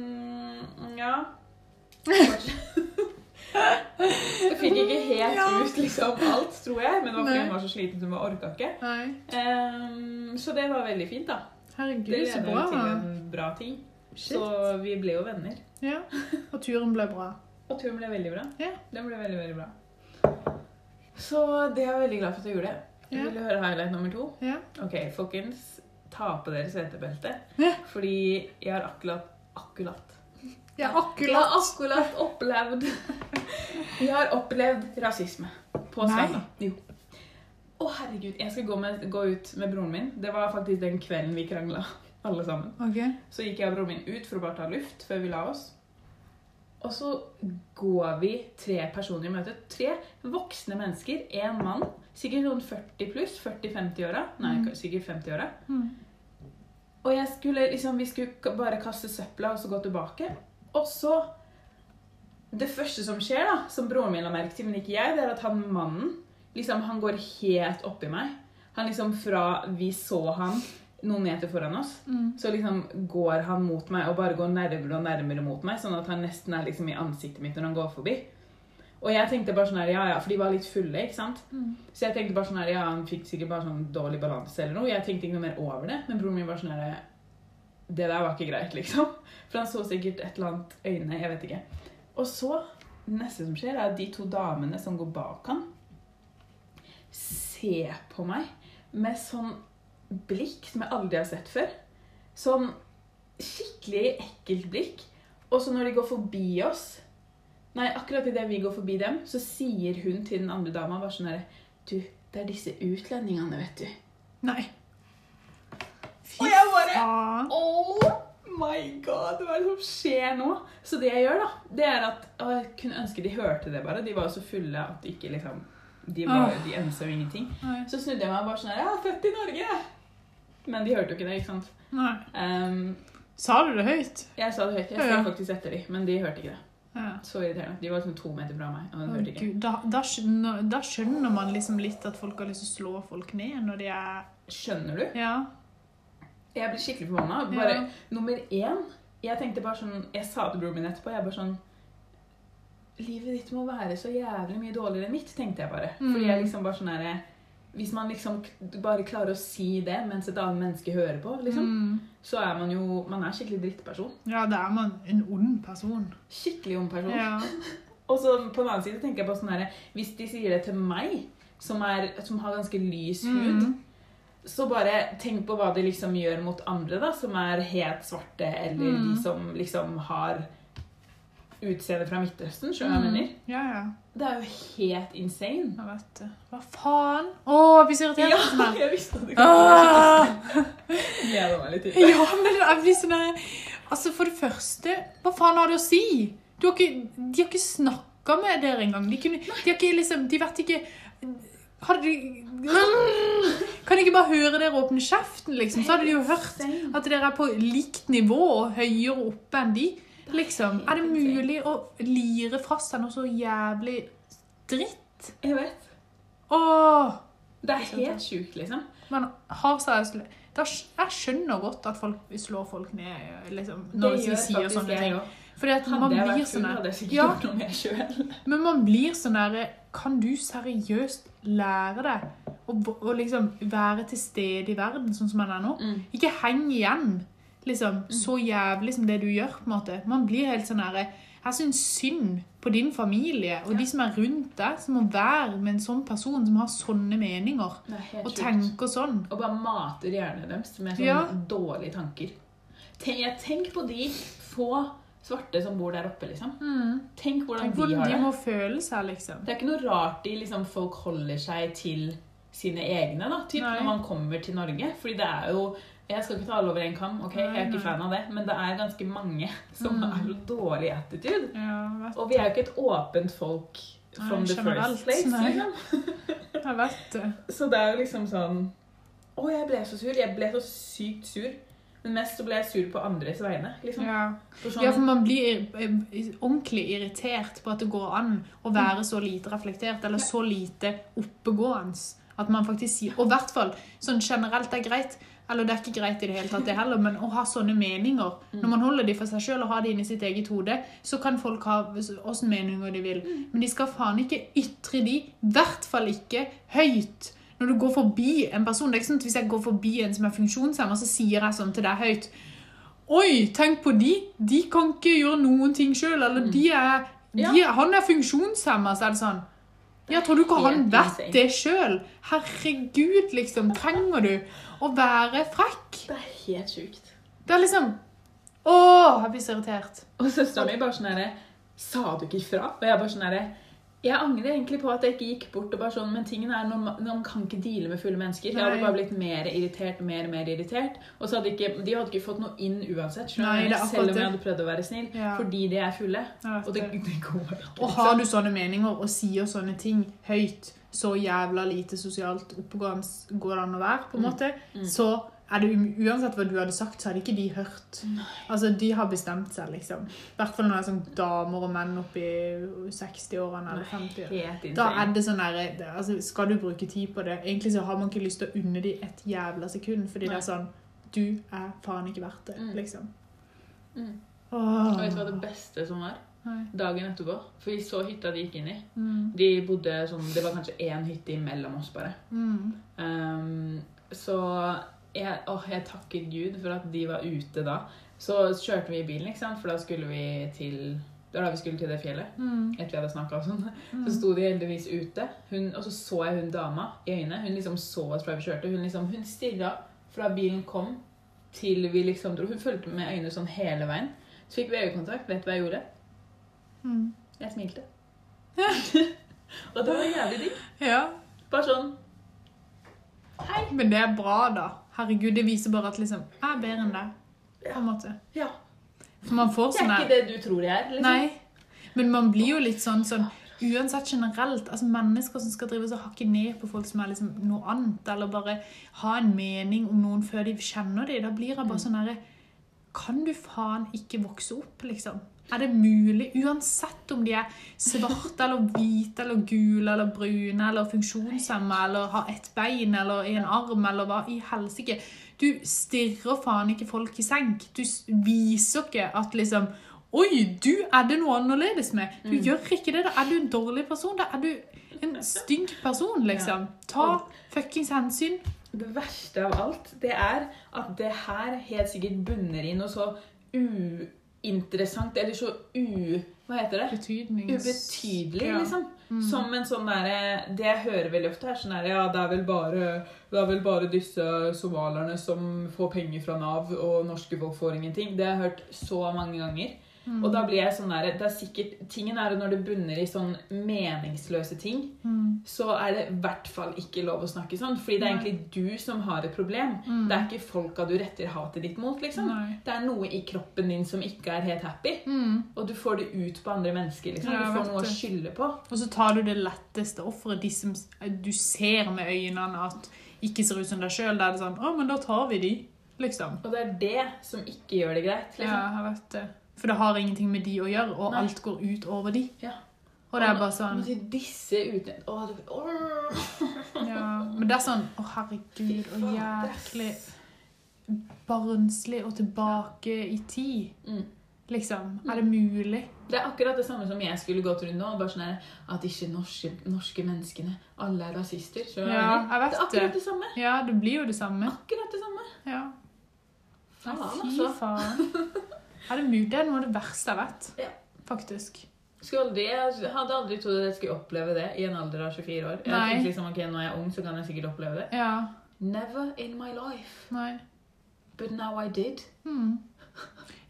Speaker 1: Ja.
Speaker 2: *laughs*
Speaker 1: Det fikk ikke helt
Speaker 2: Ja.
Speaker 1: ut liksom alt, tror jeg. Men det var fordi
Speaker 2: Nei.
Speaker 1: hun var så sliten som hun orka ikke.
Speaker 2: Nei.
Speaker 1: Ehm, så det var veldig fint, da. Det
Speaker 2: Herregud, så
Speaker 1: leda jo
Speaker 2: bra.
Speaker 1: til en bra ting. Så
Speaker 2: Shit.
Speaker 1: vi ble jo venner.
Speaker 2: Ja. Og turen ble bra.
Speaker 1: Og turen ble veldig bra.
Speaker 2: Ja.
Speaker 1: Den ble veldig, veldig bra. Så det er jeg veldig glad for at jeg gjorde.
Speaker 2: Ja.
Speaker 1: Vil du høre highlight nummer to?
Speaker 2: Ja.
Speaker 1: Ok, folkens. Ta på dere setebelte.
Speaker 2: Ja.
Speaker 1: Fordi jeg har akkurat akkurat Jeg
Speaker 2: Ja,
Speaker 1: har
Speaker 2: akkurat.
Speaker 1: akkurat opplevd *laughs* Jeg har opplevd rasisme på
Speaker 2: Nei.
Speaker 1: Stranda. Jo. Å, herregud. Jeg skal gå, med, gå ut med broren min. Det var faktisk den kvelden vi krangla, alle sammen.
Speaker 2: Ok.
Speaker 1: Så gikk jeg og broren min ut for å bare ta luft før vi la oss. Og så går vi tre personer i møte. Tre voksne mennesker, én mann. Sikkert sånn 40 pluss. 40-50-åra. Nei,
Speaker 2: Mm.
Speaker 1: sikkert 50-åra.
Speaker 2: Mm.
Speaker 1: Og jeg skulle liksom, vi skulle k- bare kaste søpla og så gå tilbake. Og så Det første som skjer, da, som broren min la merke til, men ikke jeg, det er at han mannen liksom, han går helt oppi meg. Han liksom fra vi så han noen meter foran oss,
Speaker 2: Mm.
Speaker 1: så liksom går han mot meg og bare går nærmere og nærmere mot meg, sånn at han nesten er liksom i ansiktet mitt når han går forbi. Og jeg tenkte bare sånn her, ja ja, for de var litt fulle, ikke sant.
Speaker 2: Mm.
Speaker 1: Så jeg tenkte bare sånn her, ja, han fikk sikkert bare sånn dårlig balanse eller noe. Jeg tenkte ikke noe mer over det, men broren min var sånn her, det der var ikke greit, liksom. For han så sikkert et eller annet øyne, jeg vet ikke. Og så, det neste som skjer, er at de to damene som går bak han, ser på meg med sånn blikk som jeg aldri har sett før. Sånn skikkelig ekkelt blikk. Og så når de går forbi oss Nei, akkurat idet vi går forbi dem, så sier hun til den andre dama bare sånn herre Du, det er disse utlendingene, vet du.
Speaker 2: Nei. Fy
Speaker 1: Og jeg bare
Speaker 2: faen.
Speaker 1: Oh my god, hva er det som skjer nå? Så det jeg gjør, da, det er at å, Jeg kunne ønske de hørte det, bare. De var jo så fulle at de ikke liksom De, var, de ønska jo ingenting.
Speaker 2: Nei.
Speaker 1: Så snudde jeg meg og bare sånn her Ja, født i Norge! Men de hørte jo ikke det, ikke sant.
Speaker 2: Nei.
Speaker 1: Ehm,
Speaker 2: Sa du det høyt?
Speaker 1: jeg sa det høyt. Jeg
Speaker 2: Ja, ja.
Speaker 1: skrev faktisk etter de, men de hørte ikke det.
Speaker 2: Ja.
Speaker 1: Så irriterende. De var liksom to meter fra meg, og de
Speaker 2: Å,
Speaker 1: hørte ikke.
Speaker 2: Gud, da, da, skjønner, da skjønner man liksom litt at folk har lyst til å slå folk ned når de er
Speaker 1: Skjønner du?
Speaker 2: Ja.
Speaker 1: Jeg ble skikkelig forbanna. Bare
Speaker 2: ja.
Speaker 1: nummer én Jeg tenkte bare sånn Jeg sa til broren min etterpå, jeg bare sånn Livet ditt må være så jævlig mye dårligere enn mitt, tenkte jeg bare.
Speaker 2: Mm.
Speaker 1: Fordi jeg liksom bare sånn herre Hvis man liksom k- bare klarer å si det mens et annet menneske hører på, liksom,
Speaker 2: Mm.
Speaker 1: så er man jo Man er skikkelig drittperson.
Speaker 2: Ja, da er man en ond person.
Speaker 1: Skikkelig ond person.
Speaker 2: Ja.
Speaker 1: Og så på den annen side tenker jeg på sånn herre Hvis de sier det til meg, som, er, som har ganske lys hud,
Speaker 2: Mm.
Speaker 1: så bare tenk på hva de liksom gjør mot andre, da, som er helt svarte, eller
Speaker 2: Mm.
Speaker 1: de som liksom har utseende fra Midtøsten, sjøl
Speaker 2: Mm.
Speaker 1: jeg mener.
Speaker 2: Ja, ja.
Speaker 1: Det er jo helt insane.
Speaker 2: Jeg vet det. Hva faen? Å, vi
Speaker 1: *laughs*
Speaker 2: så
Speaker 1: Ja,
Speaker 2: irriterte oss med
Speaker 1: jeg visste at det *laughs* kom.
Speaker 2: Åh!
Speaker 1: Gleda meg litt til det.
Speaker 2: Ah. Ja, men jeg blir sånn her Altså, for det første, hva faen har det å si? Du har ikke, de har ikke snakka med dere engang. De, kunne, de har ikke liksom De vet ikke Hadde de Kan de ikke bare høre dere åpne kjeften, liksom? Så hadde de jo hørt
Speaker 1: Insane.
Speaker 2: at dere er på likt nivå og høyere oppe enn de. Liksom. Er det mulig å lire fra seg noe så jævlig dritt?
Speaker 1: Jeg vet.
Speaker 2: Åh!
Speaker 1: Det er helt sjukt, liksom.
Speaker 2: Men har seriøst da, skj- Jeg skjønner godt at folk slår folk ned liksom,
Speaker 1: Det
Speaker 2: når de
Speaker 1: gjør
Speaker 2: sier
Speaker 1: faktisk
Speaker 2: sånne
Speaker 1: jeg
Speaker 2: ting.
Speaker 1: også.
Speaker 2: Fordi at man
Speaker 1: Hadde jeg
Speaker 2: blir
Speaker 1: vært
Speaker 2: sånn
Speaker 1: full,
Speaker 2: der
Speaker 1: hadde jeg sikkert
Speaker 2: Ja.
Speaker 1: gjort noe med sjøl.
Speaker 2: Men man blir sånn derre Kan du seriøst lære deg å v- å liksom være til stede i verden sånn som man er nå?
Speaker 1: Mm.
Speaker 2: Ikke heng igjen liksom, så jævlig som det du gjør. på en måte. Man blir helt sånn herre Jeg syns synd på din familie og de som er rundt deg, som må være med en sånn person som har sånne meninger
Speaker 1: Det er helt
Speaker 2: og
Speaker 1: sjukt.
Speaker 2: tenker sånn.
Speaker 1: Og bare mater hjernen deres med sånne
Speaker 2: Ja.
Speaker 1: dårlige tanker. Tenk, jeg, tenk på de få svarte som bor der oppe, liksom. Tenk hvordan
Speaker 2: Mm. Tenk hvordan
Speaker 1: de har
Speaker 2: de
Speaker 1: det.
Speaker 2: må føle seg, liksom.
Speaker 1: Det er ikke noe rart de liksom, folk holder seg til sine egne da, typ,
Speaker 2: Nei.
Speaker 1: når man kommer til Norge. Fordi det er jo Jeg skal ikke ta alle over en kam, ok? jeg
Speaker 2: Nei,
Speaker 1: er ikke
Speaker 2: nei.
Speaker 1: fan av det, men det er ganske mange *laughs* som
Speaker 2: Mm.
Speaker 1: har dårlig attitude.
Speaker 2: Ja, vet,
Speaker 1: Og vi er jo ikke et åpent folk from
Speaker 2: Nei,
Speaker 1: the
Speaker 2: generelt,
Speaker 1: first place.
Speaker 2: nei.
Speaker 1: Liksom.
Speaker 2: jeg vet det.
Speaker 1: Så det er jo liksom sånn Å, jeg ble så sur. Jeg ble så sykt sur. Men mest så ble jeg sur på andres vegne. liksom.
Speaker 2: Ja.
Speaker 1: For sånn,
Speaker 2: ja, for man blir eh, ordentlig irritert på at det går an å være så lite reflektert, eller så lite oppegående. At man faktisk sier Og i hvert fall sånn generelt er greit. Eller det er ikke greit i det hele tatt, det heller, men å ha sånne meninger Når man holder de for seg sjøl og har de inni sitt eget hode, så kan folk ha åssen meninger de vil. Men de skal faen ikke ytre de, i hvert fall ikke høyt. Når du går forbi en person Det er ikke sånn at hvis jeg går forbi en som er funksjonshemma, så sier jeg sånn til deg høyt Oi, tenk på de! De kan ikke gjøre noen ting sjøl. Eller de er, de,
Speaker 1: Mm. Ja.
Speaker 2: Han er funksjonshemma, så er det sånn. Ja, tror du ikke han
Speaker 1: Helt
Speaker 2: vet
Speaker 1: insane.
Speaker 2: det sjøl? Herregud, liksom. Trenger du å være frekk?
Speaker 1: Det er helt sjukt.
Speaker 2: Det er liksom Åh, jeg blir så irritert.
Speaker 1: Og søstera mi bare sånn herre Sa du ikke ifra? Og jeg bare sånn herre Jeg angrer egentlig på at jeg ikke gikk bort og bare sånn, men tingen er, når man, når man kan ikke deale med fulle mennesker. Jeg hadde
Speaker 2: Nei.
Speaker 1: bare blitt mer irritert, mer mer irritert. Og så hadde ikke, de hadde ikke fått noe inn uansett,
Speaker 2: Nei,
Speaker 1: skjønner du?
Speaker 2: det er akkurat
Speaker 1: Selv om jeg
Speaker 2: det.
Speaker 1: hadde prøvd å være snill.
Speaker 2: Ja.
Speaker 1: Fordi de er fulle.
Speaker 2: Jeg
Speaker 1: Og
Speaker 2: vet
Speaker 1: det,
Speaker 2: det.
Speaker 1: det går ikke. liksom.
Speaker 2: Og har du sånne meninger og sier sånne ting høyt, så jævla lite sosialt oppegående går det an å være, på en
Speaker 1: Mm.
Speaker 2: måte,
Speaker 1: Mm.
Speaker 2: så er det um- uansett hva du hadde sagt, så hadde ikke de hørt. Altså, de har bestemt seg, liksom. I hvert fall når det er sånn damer og menn oppi 60-årene eller 50
Speaker 1: Helt
Speaker 2: Da er
Speaker 1: insane.
Speaker 2: det sånn der, det- altså, skal du bruke tid på det? Egentlig så har man ikke lyst til å unne de et jævla sekund, fordi det
Speaker 1: Nei.
Speaker 2: er sånn, du er faen ikke verdt det,
Speaker 1: Mm.
Speaker 2: liksom.
Speaker 1: Mm.
Speaker 2: Åh.
Speaker 1: Og vet du hva det beste som var?
Speaker 2: Nei.
Speaker 1: Dagen etterpå. For vi så hytta de gikk inn i.
Speaker 2: Mm.
Speaker 1: De bodde sånn, Det var kanskje én hytte imellom oss, bare.
Speaker 2: Mm.
Speaker 1: Ehm, så jeg, åh, jeg takket Gud for at de var ute da. Så kjørte vi i bilen, ikke sant? for da skulle vi til Det var da vi skulle til det fjellet.
Speaker 2: Mm.
Speaker 1: Etter vi hadde snakket og sånn.
Speaker 2: Mm.
Speaker 1: Så sto de heldigvis ute, hun, og så så jeg hun dama i øynene. Hun liksom så oss fra vi kjørte. Hun, liksom, hun stirra fra bilen kom til vi liksom dro. Hun fulgte med øynene sånn hele veien. Så fikk vi øyekontakt. Vet du hva jeg gjorde?
Speaker 2: Mm.
Speaker 1: Jeg smilte. *laughs* og det var jævlig digg.
Speaker 2: Ja.
Speaker 1: Bare sånn
Speaker 2: Men det er bra, da. Herregud, det viser bare at liksom, jeg er bedre enn deg. På en måte.
Speaker 1: Ja.
Speaker 2: For man får
Speaker 1: Jeg
Speaker 2: sånn
Speaker 1: er
Speaker 2: her
Speaker 1: ikke det du tror jeg er. liksom.
Speaker 2: Nei. Men man blir jo litt sånn sånn Uansett generelt, altså mennesker som skal drive og hakke ned på folk som er liksom noe annet, eller bare ha en mening om noen før de kjenner dem, da blir jeg
Speaker 1: Mm.
Speaker 2: bare sånn herre Kan du faen ikke vokse opp, liksom? Er det mulig? Uansett om de er svarte eller hvite eller gule eller brune eller funksjonshemma eller har ett bein eller en arm eller hva i helsike Du stirrer faen ikke folk i senk. Du s- viser ikke at liksom Oi, du er det noe annerledes med. Du
Speaker 1: Mm.
Speaker 2: gjør ikke det. Da er du en dårlig person. Da er du en stygg person, liksom. Ta
Speaker 1: Og-
Speaker 2: fuckings hensyn.
Speaker 1: Det verste av alt, det er at det her helt sikkert bunner i noe så uinteressant, eller så u... Hva heter det?
Speaker 2: Betydnings...
Speaker 1: Ubetydelig,
Speaker 2: Ja. Mm.
Speaker 1: liksom. Som en sånn derre Det jeg hører veldig ofte, er sånn derre Ja, det er vel bare det er vel bare disse somalierne som får penger fra Nav, og norske folk får ingenting. Det har jeg hørt så mange ganger.
Speaker 2: Mm.
Speaker 1: Og da blir jeg sånn der, det er sikkert, Tingen er at når det bunner i sånn meningsløse ting, så er det i hvert fall ikke lov å snakke sånn. Fordi det er
Speaker 2: Mm. Nei. Mm.
Speaker 1: egentlig du som har et problem. Det er ikke folka du retter hatet ditt mot. liksom.
Speaker 2: Nei.
Speaker 1: Det er noe i kroppen din som ikke er helt happy.
Speaker 2: Mm.
Speaker 1: Og du får det ut på andre mennesker. liksom.
Speaker 2: Ja, jeg
Speaker 1: du får
Speaker 2: vet
Speaker 1: noe å
Speaker 2: det.
Speaker 1: skylde på.
Speaker 2: Og så tar du det letteste offeret, de som du ser med øynene at ikke ser ut som deg sjøl. Da er det sånn Å, men da tar vi de, liksom.
Speaker 1: Og det er det som ikke gjør det greit.
Speaker 2: Ja,
Speaker 1: liksom.
Speaker 2: jeg vet det. For det har ingenting med de å gjøre, og
Speaker 1: Nei.
Speaker 2: alt går ut over de.
Speaker 1: Ja.
Speaker 2: Og det er bare sånn
Speaker 1: Når de disse uten... Åh, det... Åh.
Speaker 2: ja. Men det er sånn Å, herregud, og
Speaker 1: faen,
Speaker 2: jæklig barnslig og tilbake i tid.
Speaker 1: Mm.
Speaker 2: Liksom. Er det mulig?
Speaker 1: Det er akkurat det samme som jeg skulle gått rundt nå. bare sånn her, At ikke norske, norske menneskene alle er rasister. skjønner du hva jeg mener?
Speaker 2: Ja, jeg
Speaker 1: Det
Speaker 2: vet
Speaker 1: er akkurat
Speaker 2: det.
Speaker 1: det samme.
Speaker 2: Ja, det blir jo det samme.
Speaker 1: Akkurat det samme.
Speaker 2: Ja. Nei,
Speaker 1: Faen,
Speaker 2: fy
Speaker 1: altså. *laughs*
Speaker 2: faen. Er det mulig? Det er noe av det verste jeg vet.
Speaker 1: Ja.
Speaker 2: Faktisk.
Speaker 1: Skulle aldri, jeg hadde aldri trodd at jeg skulle oppleve det i en alder av 24 år. Jeg
Speaker 2: Nei.
Speaker 1: tenkte liksom, ok, Nå er jeg ung, så kan jeg sikkert oppleve det.
Speaker 2: Ja.
Speaker 1: Never in my life.
Speaker 2: Nei.
Speaker 1: But now I did.
Speaker 2: Hmm.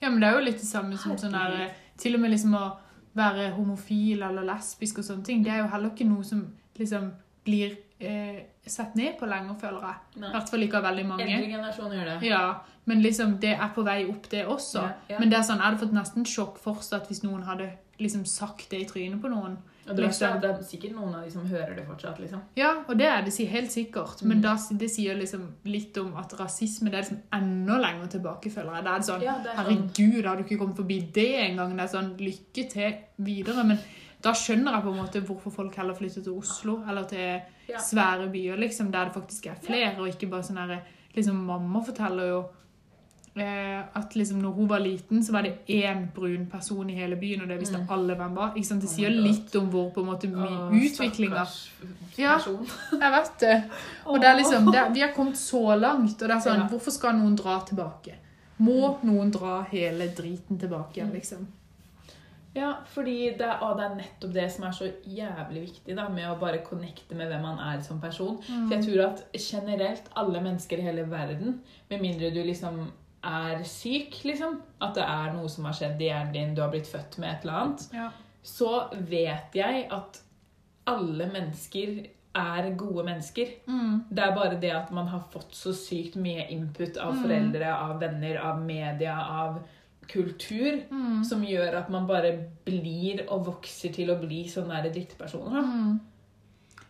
Speaker 2: Ja, men det er jo litt det samme som sånn der
Speaker 1: Herregud.
Speaker 2: Til og med liksom å være homofil eller lesbisk og sånne ting, det er jo heller ikke noe som liksom blir eh, sett ned på lenger, føler jeg. I
Speaker 1: Nei.
Speaker 2: hvert fall ikke av veldig mange.
Speaker 1: Eldre generasjon gjør det.
Speaker 2: Ja, men liksom det er på vei opp, det også.
Speaker 1: Ja, ja.
Speaker 2: Men det er sånn, jeg hadde fått nesten sjokk fortsatt hvis noen hadde liksom sagt det i trynet på noen.
Speaker 1: Og det, verste er
Speaker 2: Liksom.
Speaker 1: at det er sikkert noen av de som hører det fortsatt. liksom.
Speaker 2: Ja, og det er det si- helt sikkert.
Speaker 1: Mm.
Speaker 2: Men da, si- det sier liksom litt om at rasisme det er liksom enda lenger tilbake, føler jeg. Det er sånn,
Speaker 1: Ja, det er sånn.
Speaker 2: herregud, har du ikke kommet forbi det engang? Det er sånn, lykke til videre. Men da skjønner jeg på en måte hvorfor folk heller flytter til Oslo, eller til
Speaker 1: Ja.
Speaker 2: svære byer, liksom, der det faktisk er flere, og ikke bare sånn her liksom, Mamma forteller jo Eh, at liksom når hun var liten, så var det én brun person i hele byen, og det visste alle hvem var. Ikke sant? Det
Speaker 1: Mm. Oh
Speaker 2: sier
Speaker 1: my God.
Speaker 2: litt om hvor på en måte mye
Speaker 1: Åh,
Speaker 2: utviklinga
Speaker 1: stakkars
Speaker 2: Ja.
Speaker 1: person.
Speaker 2: jeg vet det. Og det er liksom, det, *laughs* er- vi har kommet så langt, og det er sånn,
Speaker 1: Ja.
Speaker 2: hvorfor skal noen dra tilbake? Må noen dra hele driten tilbake igjen, liksom?
Speaker 1: *laughs* Ja, fordi det er, å, det er nettopp det som er så jævlig viktig da, med å bare connecte med hvem man er som person. For
Speaker 2: Mm.
Speaker 1: jeg tror at generelt alle mennesker i hele verden, med mindre du liksom er syk, liksom, at det er noe som har skjedd i hjernen din, du har blitt født med et eller annet,
Speaker 2: Ja.
Speaker 1: så vet jeg at alle mennesker er gode mennesker.
Speaker 2: Mm.
Speaker 1: Det er bare det at man har fått så sykt mye input av foreldre, av venner, av media, av kultur, som gjør at man bare blir og vokser til å bli sånne der drittpersoner. da.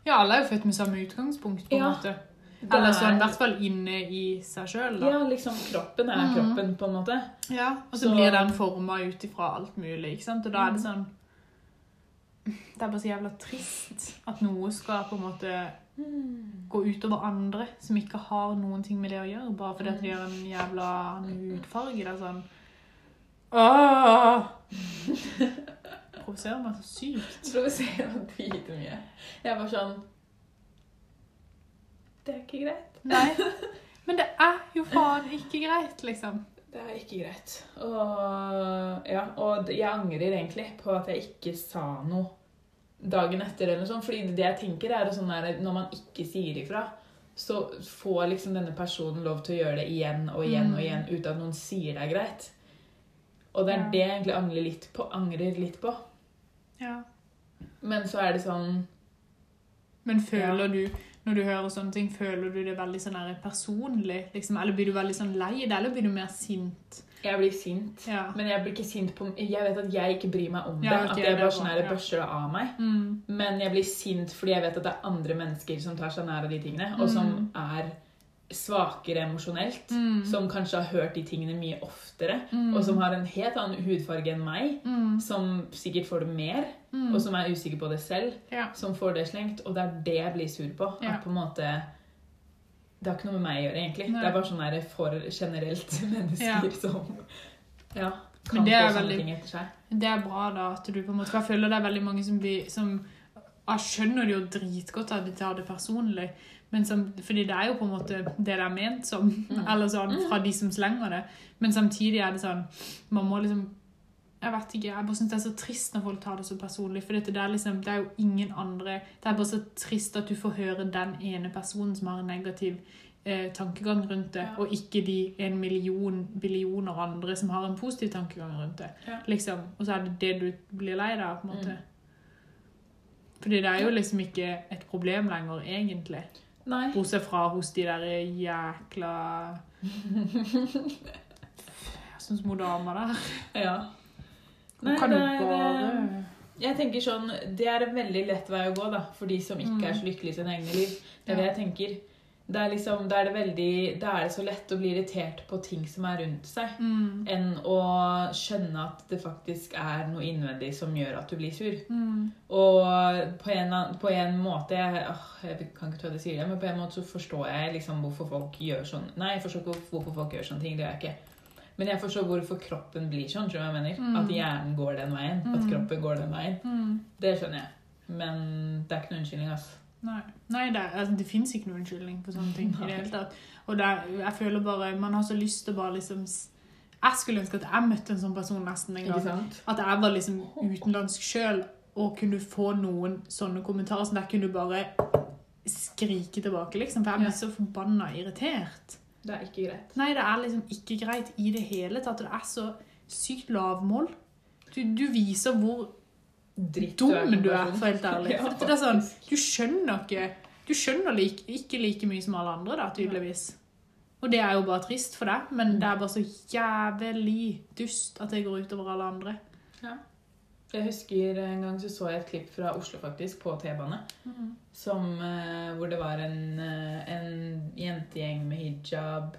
Speaker 2: Ja, alle er jo født med samme utgangspunkt, på en
Speaker 1: Ja.
Speaker 2: måte.
Speaker 1: Det
Speaker 2: Eller sånn, i
Speaker 1: er-
Speaker 2: hvert fall inne i seg sjøl, da.
Speaker 1: Ja, liksom kroppen er kroppen, på en måte.
Speaker 2: Ja, og så
Speaker 1: Så-
Speaker 2: blir den forma ut ifra alt mulig, ikke sant? Og da er det sånn Det er bare så jævla trist Mm. at noe skal på en måte gå utover andre som ikke har noen ting med det å gjøre, bare fordi at de har en jævla annen hudfarge. Det er sånn Åh! Provoserer meg så sykt.
Speaker 1: Jeg provoserer meg dritmye. Jeg var sånn Det er ikke greit.
Speaker 2: Nei. Men det er jo faen ikke greit, liksom.
Speaker 1: Det er ikke greit. Og, ja, og jeg angrer egentlig på at jeg ikke sa noe dagen etter. eller noe sånt, fordi det jeg tenker er at sånn der, når man ikke sier ifra, så får liksom denne personen lov til å gjøre det igjen og igjen og igjen uten at noen sier det er greit. Og det er
Speaker 2: Mm. Ja.
Speaker 1: det jeg egentlig angrer litt på. Angrer litt på.
Speaker 2: Ja.
Speaker 1: Men så er det sånn
Speaker 2: Men føler du, når du hører sånne ting, føler du det veldig sånn her personlig? Liksom? Eller blir du veldig sånn lei det, eller blir du mer sint?
Speaker 1: Jeg blir sint.
Speaker 2: Ja.
Speaker 1: Men jeg blir ikke sint på Jeg vet at jeg ikke bryr meg om det.
Speaker 2: Ja, ok,
Speaker 1: at jeg
Speaker 2: det er
Speaker 1: bare sånn
Speaker 2: bra,
Speaker 1: her
Speaker 2: ja.
Speaker 1: børster det av meg.
Speaker 2: Mm.
Speaker 1: Men jeg blir sint fordi jeg vet at det er andre mennesker som tar seg nær av de tingene, og som er svakere emosjonelt.
Speaker 2: Mm.
Speaker 1: Som kanskje har hørt de tingene mye oftere,
Speaker 2: Mm.
Speaker 1: og som har en helt annen hudfarge enn meg.
Speaker 2: Mm.
Speaker 1: Som sikkert får det mer,
Speaker 2: Mm.
Speaker 1: og som er usikker på det selv.
Speaker 2: Ja.
Speaker 1: Som får det slengt, og det er det jeg blir sur på.
Speaker 2: Ja.
Speaker 1: At på en måte Det har ikke noe med meg å gjøre, egentlig.
Speaker 2: Nei.
Speaker 1: Det er bare sånn der for generelt *laughs* mennesker
Speaker 2: Ja.
Speaker 1: som ja,
Speaker 2: Men
Speaker 1: kan
Speaker 2: det
Speaker 1: få
Speaker 2: er
Speaker 1: sånne
Speaker 2: veldig-
Speaker 1: ting etter seg.
Speaker 2: Det er bra da at du på en måte For jeg føler det er veldig mange som blir som, Jeg skjønner det jo dritgodt at de tar det personlig, men som, fordi det er jo på en måte det det er ment som, eller sånn, fra de som slenger det. Men samtidig er det sånn Man må liksom Jeg vet ikke, jeg bare syns det er så trist når folk tar det så personlig, for dette, det, er liksom, det er jo ingen andre Det er bare så trist at du får høre den ene personen som har en negativ eh, tankegang rundt det, og ikke de en million billioner andre som har en positiv tankegang rundt det liksom, og så er det det du blir lei deg av, på en måte. Fordi det er jo liksom ikke et problem lenger, egentlig.
Speaker 1: Nei.
Speaker 2: Bortsett fra hos de der jækla Sånn små damer der.
Speaker 1: Ja.
Speaker 2: Hun
Speaker 1: Nei,
Speaker 2: kan jo
Speaker 1: det er,
Speaker 2: bare
Speaker 1: Jeg tenker sånn, Det er en veldig lett vei å gå da, for de som ikke er så lykkelige i sine egne liv. Det er det
Speaker 2: Mm. Ja.
Speaker 1: jeg tenker. Det er liksom, Da er det veldig, da er det så lett å bli irritert på ting som er rundt seg,
Speaker 2: mm,
Speaker 1: enn å skjønne at det faktisk er noe innvendig som gjør at du blir sur.
Speaker 2: mm,
Speaker 1: Og på en, annen- på en måte jeg, åh, jeg kan ikke tro at jeg sier det, men på en måte så forstår jeg liksom hvorfor folk gjør sånn. Nei, jeg forstår ikke hvor- hvorfor folk gjør sånne ting. Det gjør jeg ikke. Men jeg forstår hvorfor kroppen blir sånn. tror jeg jeg mener.
Speaker 2: Mm.
Speaker 1: At hjernen går den veien. At
Speaker 2: Mm.
Speaker 1: kroppen går den veien.
Speaker 2: mm.
Speaker 1: Det skjønner jeg. Men det er ikke noen unnskyldning. altså.
Speaker 2: Nei, Nei det, er- altså, det fins ikke noen unnskyldning for sånne ting. i det hele tatt. Og det, er- jeg føler bare, Man har så lyst til å bare liksom s- Jeg skulle ønske at jeg møtte en sånn person nesten en gang.
Speaker 1: Ikke sant?
Speaker 2: At jeg var liksom utenlandsk sjøl og kunne få noen sånne kommentarer som jeg kunne bare skrike tilbake, liksom. For jeg blir
Speaker 1: Ja.
Speaker 2: så forbanna irritert.
Speaker 1: Det er ikke greit.
Speaker 2: Nei, det er liksom ikke greit i det hele tatt. og Det er så sykt lavmål. Du, du viser hvor
Speaker 1: Dritt
Speaker 2: dum
Speaker 1: som
Speaker 2: du er,
Speaker 1: person.
Speaker 2: for helt
Speaker 1: *laughs*
Speaker 2: ærlig.
Speaker 1: Ja,
Speaker 2: For det er sånn, du skjønner ikke Du skjønner like, ikke like mye som alle andre, da, tydeligvis. Og det er jo bare trist for deg, men det er bare så jævlig dust at det går utover alle andre.
Speaker 1: Jeg husker en gang så så jeg et klipp fra Oslo faktisk, på T-bane. som, eh, Hvor det var en, eh, en jentegjeng med hijab,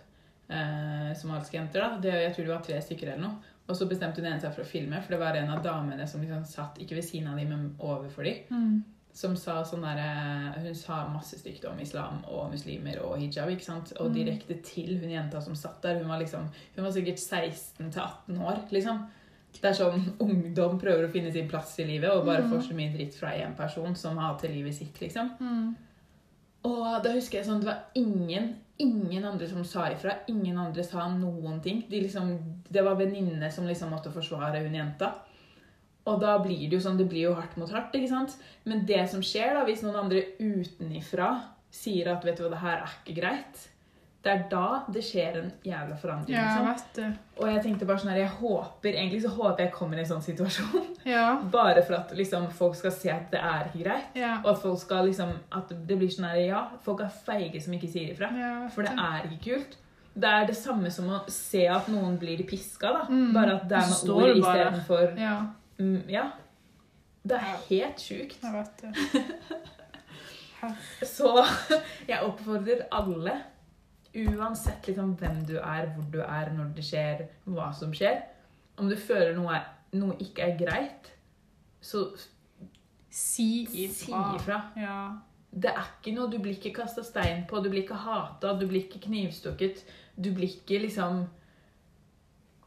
Speaker 1: eh, somaliske jenter. da. Det, jeg tror det var tre stykker eller noe. Og så bestemte hun ene seg for å filme, for det var en av damene som liksom satt ikke ved siden av dem, men overfor dem.
Speaker 2: Mm.
Speaker 1: Som sa sånn derre Hun sa masse stygt om islam og muslimer og hijab, ikke sant? Og direkte til hun jenta som satt der. Hun var liksom Hun var sikkert 16-18 år, liksom. Det er sånn ungdom prøver å finne sin plass i livet og bare får så mye dritt fra én person som hater livet sitt, liksom.
Speaker 2: Mm.
Speaker 1: Og da husker jeg sånn Det var ingen Ingen andre som sa ifra. Ingen andre sa noen ting. De liksom, det var venninnene som liksom måtte forsvare hun jenta. Og da blir det jo sånn, det blir jo hardt mot hardt, ikke sant? Men det som skjer da, hvis noen andre utenifra sier at vet du hva, det her er ikke greit, det er da det skjer en jævla forandring.
Speaker 2: Ja, jeg
Speaker 1: liksom.
Speaker 2: vet det.
Speaker 1: Og jeg tenkte bare sånn her, jeg håper, egentlig så håper jeg kommer i en sånn situasjon. *laughs*
Speaker 2: Ja.
Speaker 1: Bare for at liksom folk skal se at det er ikke greit.
Speaker 2: Ja.
Speaker 1: Og at folk skal liksom, at det blir sånn her, ja, folk er feige som ikke sier ifra.
Speaker 2: ja jeg vet
Speaker 1: For det er ikke kult. Det er det samme som å se at noen blir piska, da.
Speaker 2: Mm.
Speaker 1: Bare at det er
Speaker 2: Så
Speaker 1: med
Speaker 2: står
Speaker 1: ord
Speaker 2: det bare.
Speaker 1: istedenfor
Speaker 2: Ja,
Speaker 1: Mm, ja. Det er helt sjukt.
Speaker 2: jeg vet det. Herre.
Speaker 1: Så *laughs* jeg oppfordrer alle, uansett liksom hvem du er, hvor du er, når det skjer, hva som skjer Om du føler noe, er, noe ikke er greit, så
Speaker 2: Si
Speaker 1: si
Speaker 2: ifra.
Speaker 1: ifra.
Speaker 2: Ja.
Speaker 1: Det er ikke noe Du blir ikke kasta stein på, du blir ikke hata, du blir ikke knivstukket. Du blir ikke liksom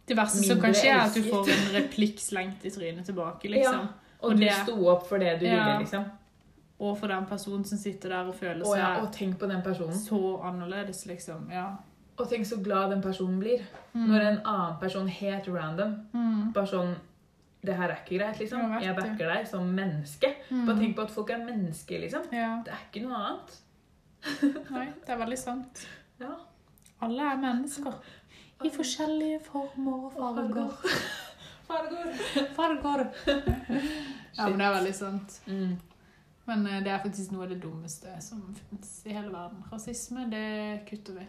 Speaker 2: Det verste som
Speaker 1: Mindre
Speaker 2: kan skje, er at du
Speaker 1: elsket.
Speaker 2: får en replikk slengt i trynet tilbake, liksom.
Speaker 1: Og,
Speaker 2: Og
Speaker 1: du
Speaker 2: det-
Speaker 1: sto opp for det du
Speaker 2: Ja.
Speaker 1: ville, liksom.
Speaker 2: Og for den personen som sitter der og føler
Speaker 1: Å, ja.
Speaker 2: seg
Speaker 1: Og tenk på den personen.
Speaker 2: så annerledes, liksom. Ja.
Speaker 1: Og tenk så glad den personen blir
Speaker 2: Mm.
Speaker 1: når en annen person helt random
Speaker 2: Mm.
Speaker 1: bare sånn Det her er ikke greit, liksom.
Speaker 2: Ja, vet
Speaker 1: Jeg
Speaker 2: du.
Speaker 1: backer deg som menneske. Bare
Speaker 2: Mm.
Speaker 1: tenk på at folk er mennesker, liksom.
Speaker 2: Ja.
Speaker 1: Det er ikke noe annet.
Speaker 2: Nei, det er veldig sant.
Speaker 1: Ja.
Speaker 2: Alle er mennesker. I forskjellige former og farger.
Speaker 1: Fargor.
Speaker 2: Farger! Ja, men det er veldig sant.
Speaker 1: Mm.
Speaker 2: Men eh, det er faktisk noe av det dummeste som finnes i hele verden. Rasisme, det kutter vi.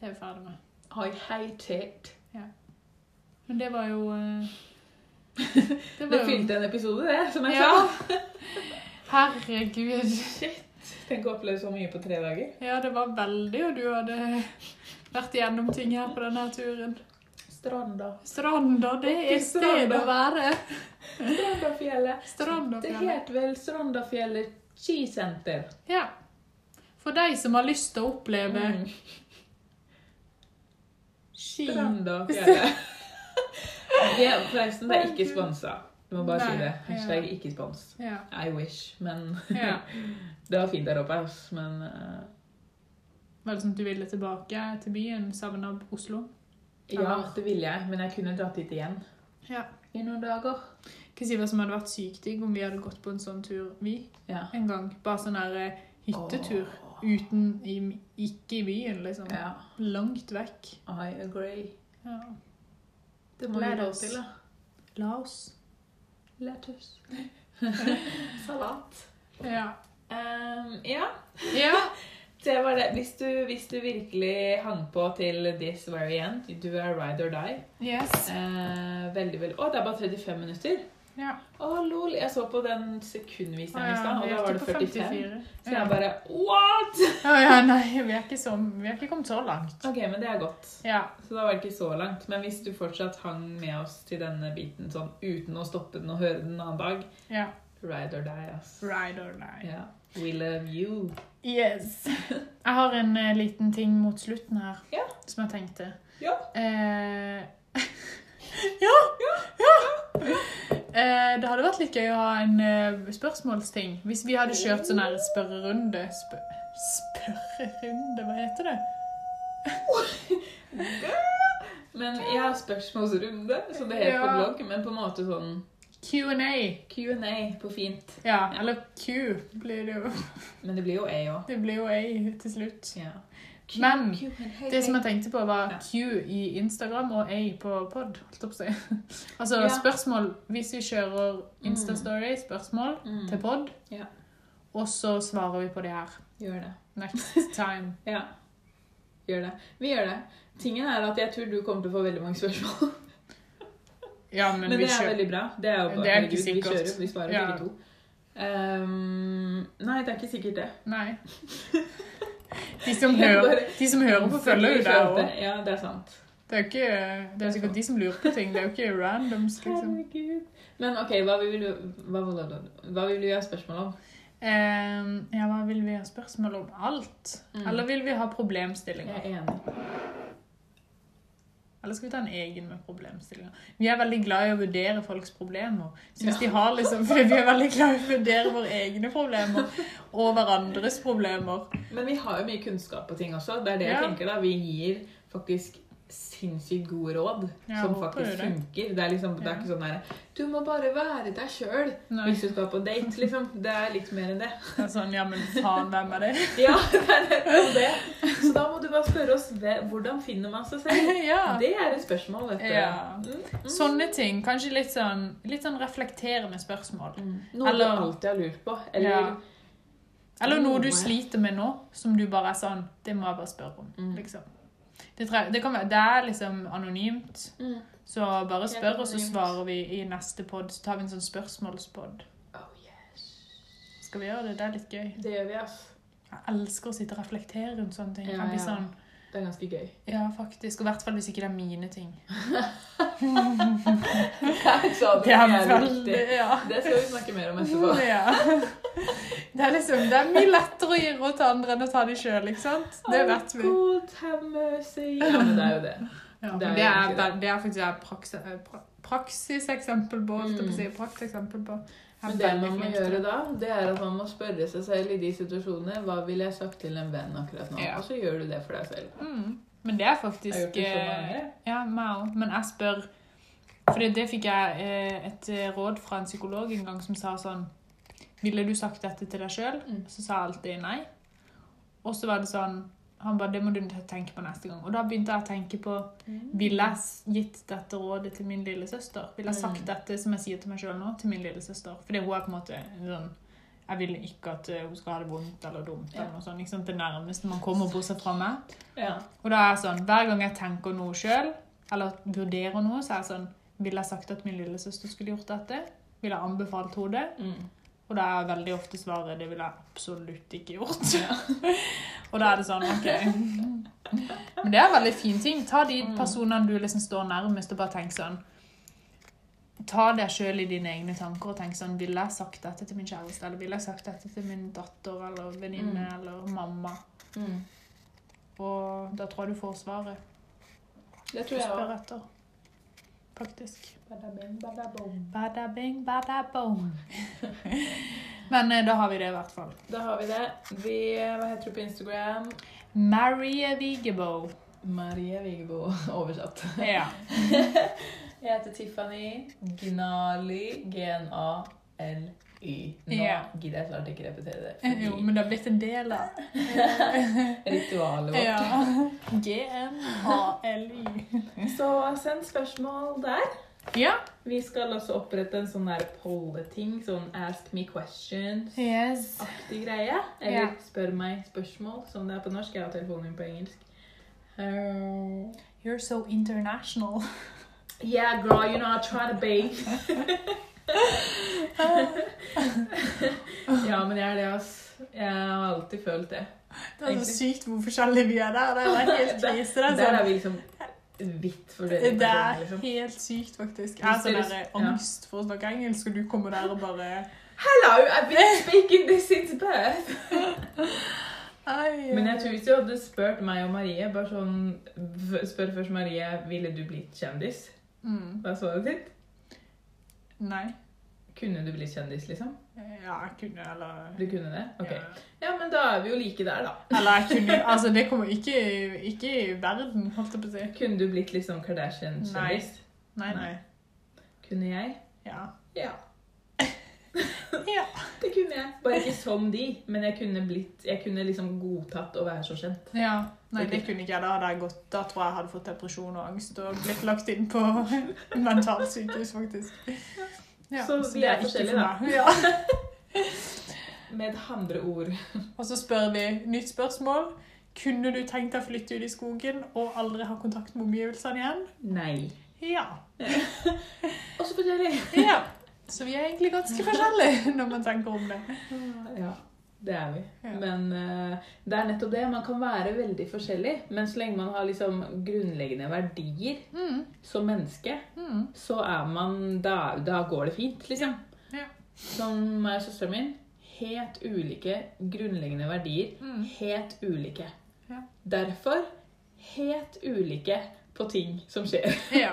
Speaker 2: Det er vi ferdig med.
Speaker 1: har jeg hatet.
Speaker 2: Men det var jo eh, *laughs* Det
Speaker 1: Det fylte en episode, det, som jeg
Speaker 2: Ja.
Speaker 1: sa.
Speaker 2: *laughs* Herregud.
Speaker 1: Tenk å oppleve så mye på tre dager.
Speaker 2: Ja, det var veldig, og du hadde vært igjennom ting her på denne turen.
Speaker 1: Stranda.
Speaker 2: Stranda, det er
Speaker 1: Ikke
Speaker 2: sted
Speaker 1: stranda.
Speaker 2: å være.
Speaker 1: Strandafjellet. Det
Speaker 2: Strandafjellet.
Speaker 1: het vel Strandafjellet skisenter.
Speaker 2: Ja. For de som har lyst til å oppleve
Speaker 1: Mm. *laughs*
Speaker 2: ski
Speaker 1: Strandafjellet. Det, forresten, det er ikke sponsa. Du må bare si
Speaker 2: Nei,
Speaker 1: det. Hashtag
Speaker 2: ja.
Speaker 1: ikke spons.
Speaker 2: ja.
Speaker 1: I wish, men
Speaker 2: ja.
Speaker 1: *laughs* Det var fint der oppe, ass, men eh,
Speaker 2: Var det sånn at du ville tilbake til byen, savna Oslo?
Speaker 1: Ja,
Speaker 2: Eller?
Speaker 1: det ville jeg, men jeg kunne dratt dit igjen
Speaker 2: Ja.
Speaker 1: i noen dager.
Speaker 2: Hva sier vi som hadde vært sykt digg om vi hadde gått på en sånn tur, vi,
Speaker 1: Ja.
Speaker 2: en gang? Bare sånn der eh, hyttetur. Uten i, Ikke i byen, liksom.
Speaker 1: Ja.
Speaker 2: Langt vekk.
Speaker 1: I agree.
Speaker 2: Ja.
Speaker 1: Det må vi
Speaker 2: Let
Speaker 1: gå *laughs*
Speaker 2: us.
Speaker 1: til, da.
Speaker 2: Laos.
Speaker 1: Lettuce. *laughs* Salat.
Speaker 2: Ja.
Speaker 1: Ehm, ja,
Speaker 2: ja.
Speaker 1: det var det. Hvis du, hvis du virkelig hang på til this very end, du er ride or die.
Speaker 2: Yes.
Speaker 1: Eh, veldig, veldig Å, det er bare 35 minutter.
Speaker 2: Ja.
Speaker 1: Å, lol. Jeg så på den sekundviseren i
Speaker 2: Ja,
Speaker 1: stad, og
Speaker 2: vi
Speaker 1: da
Speaker 2: er
Speaker 1: var
Speaker 2: ikke
Speaker 1: det
Speaker 2: på
Speaker 1: 45.
Speaker 2: 54.
Speaker 1: Så
Speaker 2: Ja.
Speaker 1: jeg bare What?!
Speaker 2: Å ja, nei, vi er ikke så Vi er ikke kommet så langt.
Speaker 1: OK, men det er godt.
Speaker 2: Ja.
Speaker 1: Så da var det ikke så langt. Men hvis du fortsatt hang med oss til denne biten sånn uten å stoppe den og høre den en annen dag,
Speaker 2: ja.
Speaker 1: ride or die, ass.
Speaker 2: Ride or die.
Speaker 1: Ja. We love you.
Speaker 2: Yes. Jeg har en eh, liten ting mot slutten her
Speaker 1: Ja.
Speaker 2: som jeg tenkte.
Speaker 1: Ja.
Speaker 2: Eh, *laughs* ja! ja. Eh, det hadde vært litt gøy å ha en eh, spørsmålsting. Hvis vi hadde kjørt sånn her spørrerunde spør, Spørrerunde, hva heter det?
Speaker 1: Men jeg har spørsmålsrunde, så det heter på
Speaker 2: Ja.
Speaker 1: blogg, men på en måte sånn
Speaker 2: Q&A.
Speaker 1: Q&A på fint.
Speaker 2: Ja, eller Q blir det jo.
Speaker 1: Men det blir jo A òg.
Speaker 2: Det blir jo A til slutt.
Speaker 1: Ja.
Speaker 2: Men,
Speaker 1: Q&A.
Speaker 2: Det som jeg tenkte på, var
Speaker 1: Ja.
Speaker 2: Q i Instagram og A på pod. Holdt jeg på å si. *laughs* Altså
Speaker 1: Ja.
Speaker 2: spørsmål Hvis vi kjører Instastory, spørsmål
Speaker 1: Mm.
Speaker 2: til pod,
Speaker 1: Ja.
Speaker 2: og så svarer vi på det her.
Speaker 1: Gjør det.
Speaker 2: Next time.
Speaker 1: Ja. Gjør det. Vi gjør det. Tingen er at jeg tror du kommer til å få veldig mange spørsmål.
Speaker 2: Ja, *laughs* men,
Speaker 1: Men, det
Speaker 2: vi
Speaker 1: er
Speaker 2: kjører.
Speaker 1: veldig bra. Det er jo bare,
Speaker 2: Det er ikke
Speaker 1: herregud, vi
Speaker 2: sikkert.
Speaker 1: kjører, vi svarer
Speaker 2: Ja.
Speaker 1: begge to. Ehm, nei, det er ikke sikkert det.
Speaker 2: Nei.
Speaker 1: *laughs*
Speaker 2: De som
Speaker 1: Jeg
Speaker 2: hører,
Speaker 1: bare-
Speaker 2: de som hører på, følger jo
Speaker 1: Vi
Speaker 2: deg
Speaker 1: følte-
Speaker 2: òg.
Speaker 1: Ja, det er sant.
Speaker 2: Det er jo ikke, det er sikkert de som lurer på ting. Det er jo ikke randoms, liksom.
Speaker 1: Herregud. Men ok, hva vil du, hva, hva, hva, hva vil du gjøre spørsmål om?
Speaker 2: Ehm, ja, hva vil vi ha spørsmål om? Alt?
Speaker 1: Mm.
Speaker 2: Eller vil vi ha
Speaker 1: Jeg
Speaker 2: problemstillinger?
Speaker 1: er enig.
Speaker 2: Eller skal vi ta en egen med problemstillinger? Vi er veldig glad i å vurdere folks problemer. Så hvis de har liksom, *laughs* for Vi er veldig glad i å vurdere våre egne problemer og hverandres problemer.
Speaker 1: Men vi har jo mye kunnskap på ting også. Det er det jeg
Speaker 2: Ja.
Speaker 1: tenker da. Vi gir faktisk sinnssykt gode råd
Speaker 2: Ja,
Speaker 1: som
Speaker 2: håper
Speaker 1: faktisk
Speaker 2: det.
Speaker 1: funker. Det er liksom, det er
Speaker 2: Ja.
Speaker 1: ikke sånn der Du må bare være deg sjøl
Speaker 2: Nei.
Speaker 1: hvis du skal på date, liksom. Det er litt mer
Speaker 2: *laughs*
Speaker 1: enn det.
Speaker 2: Det er sånn, ja, men faen, hvem er det? *laughs*
Speaker 1: Ja, det er nettopp det. Så da må du bare spørre oss hve- hvordan finner man seg selv.
Speaker 2: Ja.
Speaker 1: Det er et spørsmål, vet du.
Speaker 2: Ja.
Speaker 1: Mm,
Speaker 2: Sånne ting. Kanskje litt sånn, litt sånn reflekterende spørsmål.
Speaker 1: mm. Noe
Speaker 2: Eller-
Speaker 1: du alltid har lurt på. Eller
Speaker 2: Ja.
Speaker 1: Mm.
Speaker 2: Eller noe du sliter med nå, som du bare er sånn Det må jeg bare spørre om.
Speaker 1: Mm.
Speaker 2: liksom. Det, tre, det, kan være, det er liksom anonymt,
Speaker 1: mm.
Speaker 2: så bare spør, og så
Speaker 1: anonymt.
Speaker 2: svarer vi i neste pod. Så tar vi en sånn spørsmålspod.
Speaker 1: Oh, yes.
Speaker 2: Skal vi gjøre det? Det er litt gøy.
Speaker 1: Det gjør vi, ass.
Speaker 2: Jeg elsker å sitte og reflektere rundt sånne ting.
Speaker 1: Ja,
Speaker 2: jeg blir
Speaker 1: ja.
Speaker 2: sånn,
Speaker 1: Det er ganske
Speaker 2: *laughs*
Speaker 1: gøy.
Speaker 2: ja, faktisk. Og i hvert fall hvis ikke det er mine ting.
Speaker 1: Så
Speaker 2: Det er
Speaker 1: jævlig
Speaker 2: veldig
Speaker 1: riktig.
Speaker 2: *laughs* ja.
Speaker 1: Det skal vi snakke mer om etterpå.
Speaker 2: ja. Det er liksom, det er mye lettere å gi råd til andre enn å ta det sjøl, ikke sant? Det vet vi.
Speaker 1: God hammersi. Ja, men det er jo det.
Speaker 2: *laughs* Ja,
Speaker 1: Det er
Speaker 2: men det, er,
Speaker 1: egentlig
Speaker 2: vel- det er faktisk et praksis, praksiseksempel på, holdt jeg på å si, prakteksempel på. Jeg
Speaker 1: Mm.
Speaker 2: er
Speaker 1: Men det
Speaker 2: veldig
Speaker 1: man må
Speaker 2: flink til
Speaker 1: gjøre
Speaker 2: det.
Speaker 1: da, det er at man må spørre seg selv i de situasjonene Hva ville jeg sagt til en venn akkurat nå?
Speaker 2: Ja.
Speaker 1: Og så gjør du det for deg selv.
Speaker 2: Mm. Men
Speaker 1: Jeg
Speaker 2: det er
Speaker 1: har gjort
Speaker 2: faktisk
Speaker 1: det så
Speaker 2: eh,
Speaker 1: mange.
Speaker 2: Ja, meg òg. Men jeg spør For det fikk jeg eh, et eh, råd fra en psykolog en gang som sa sånn Ville du sagt dette til deg sjøl?
Speaker 1: Mm.
Speaker 2: Så sa jeg alltid nei. Og så var det sånn Han ba, det må du tenke på neste gang. Og da begynte jeg å tenke på
Speaker 1: Mm.
Speaker 2: Ville jeg s- gitt dette rådet til min lillesøster? Ville jeg sagt
Speaker 1: Mm.
Speaker 2: dette som jeg sier til meg sjøl nå, til min lillesøster? Fordi hun er på en måte en sånn Jeg vil ikke at eh, hun skal ha det vondt eller dumt. eller noe sånt. Ikke sant? Det nærmeste man kommer, bortsett fra meg.
Speaker 3: Ja.
Speaker 2: Og da er jeg sånn, Hver gang jeg tenker noe sjøl, eller vurderer noe, så er jeg sånn Ville jeg sagt at min lillesøster skulle gjort dette? Ville jeg anbefalt henne det?
Speaker 3: Mm.
Speaker 2: Og da er veldig ofte svaret det ville jeg absolutt ikke gjort. *laughs* og da er det sånn, OK. Men det er en veldig fin ting. Ta de personene du liksom står nærmest, og bare tenk sånn Ta deg sjøl i dine egne tanker og tenk sånn Ville jeg sagt dette til min kjæreste? Eller ville jeg sagt dette til min datter eller venninne eller mamma?
Speaker 3: Mm.
Speaker 2: Og da tror jeg du får svaret
Speaker 3: Det
Speaker 2: du
Speaker 3: tror jeg
Speaker 2: spør
Speaker 3: òg.
Speaker 2: etter. Faktisk.
Speaker 3: Badabing, badabom.
Speaker 2: Bada bing, bada *laughs* bong. Men eh, da har vi det, i hvert fall.
Speaker 3: Da har vi det. Vi, hva heter du på Instagram?
Speaker 2: Marie Vigebo.
Speaker 3: Marie
Speaker 2: *laughs*
Speaker 3: Vigebo. Oversatt.
Speaker 2: Ja.
Speaker 3: Jeg heter Tiffany Gnali. G-n-a-l-y. Nå
Speaker 2: Ja.
Speaker 3: gidder jeg snart ikke repetere det.
Speaker 2: *laughs* *laughs* Jo,
Speaker 3: Fordi
Speaker 2: men det har blitt en del av
Speaker 3: ritualet vårt.
Speaker 2: *laughs* ja. GNALY.
Speaker 1: Så send spørsmål der.
Speaker 2: Ja.
Speaker 1: Vi skal også opprette en sånn der polleting, sånn ask me questions.
Speaker 2: Yes.
Speaker 1: aktig greie. Eller
Speaker 2: Ja.
Speaker 1: spør meg spørsmål, som det er på norsk. Jeg har telefonen min på engelsk. Uh,
Speaker 2: You're so *laughs* international.
Speaker 1: yeah, girl, you know I try to
Speaker 2: *laughs*
Speaker 1: bake. ja, men jeg er det, ass. Jeg har alltid følt det.
Speaker 2: Det er så sykt hvor forskjellige vi er der. Det er helt krise. Det
Speaker 1: Der er
Speaker 2: er,
Speaker 1: vi liksom vidt
Speaker 2: sånn.
Speaker 1: forskjellige.
Speaker 2: det er
Speaker 1: personer, liksom.
Speaker 2: helt sykt, faktisk. Jeg har sånn der angst for å snakke engelsk, og du kommer der og bare
Speaker 1: Hello, I've
Speaker 2: *laughs*
Speaker 1: been speaking this since birth.
Speaker 2: Ai,
Speaker 1: Men jeg tror hvis du hadde spurt meg og Marie, bare sånn v- Spør først Marie, ville du blitt kjendis?
Speaker 2: mm.
Speaker 1: Hva er svaret ditt?
Speaker 2: Nei.
Speaker 1: Kunne du blitt kjendis, liksom?
Speaker 2: Eh, Ja, jeg kunne, eller
Speaker 1: Du kunne det? Ok.
Speaker 2: Ja.
Speaker 1: Ja, men da er vi jo like der, da.
Speaker 2: Eller jeg kunne Altså, det kommer ikke, ikke i verden, holdt jeg på å si.
Speaker 1: Kunne du blitt litt sånn Kardashian-kjendis?
Speaker 2: Nei, nei.
Speaker 1: Kunne jeg?
Speaker 2: Ja.
Speaker 1: Ja,
Speaker 2: *laughs* ja.
Speaker 1: det kunne jeg. Bare ikke som de, men jeg kunne, blitt, jeg kunne liksom godtatt å være så kjent.
Speaker 2: Ja, nei,
Speaker 1: Ok.
Speaker 2: det kunne ikke jeg. Da hadde jeg gått, da tror jeg jeg hadde fått depresjon og angst og blitt lagt inn på *laughs* mentalsykehus, faktisk.
Speaker 1: Så vi
Speaker 2: det
Speaker 1: er
Speaker 2: ikke
Speaker 1: forskjellige,
Speaker 2: for
Speaker 1: da.
Speaker 2: meg. Ja.
Speaker 1: Med andre ord.
Speaker 2: Og så spør vi nytt spørsmål. Kunne du tenkt deg å flytte ut i skogen og aldri ha kontakt med omgivelsene igjen?
Speaker 1: Nei.
Speaker 2: Ja.
Speaker 1: Og så forskjellig.
Speaker 2: ja. Så vi er egentlig ganske forskjellige når man tenker om det.
Speaker 1: Ja, det er vi.
Speaker 2: Ja.
Speaker 1: Men eh, det er nettopp det. Man kan være veldig forskjellig, men så lenge man har liksom grunnleggende verdier
Speaker 2: Mm.
Speaker 1: som menneske,
Speaker 2: Mm.
Speaker 1: så er man Da, da går det fint, liksom.
Speaker 2: Ja.
Speaker 1: Som meg og søsteren min. Helt ulike grunnleggende verdier.
Speaker 2: Mm.
Speaker 1: Helt ulike.
Speaker 2: Ja.
Speaker 1: Derfor helt ulike på ting som skjer.
Speaker 2: Ja.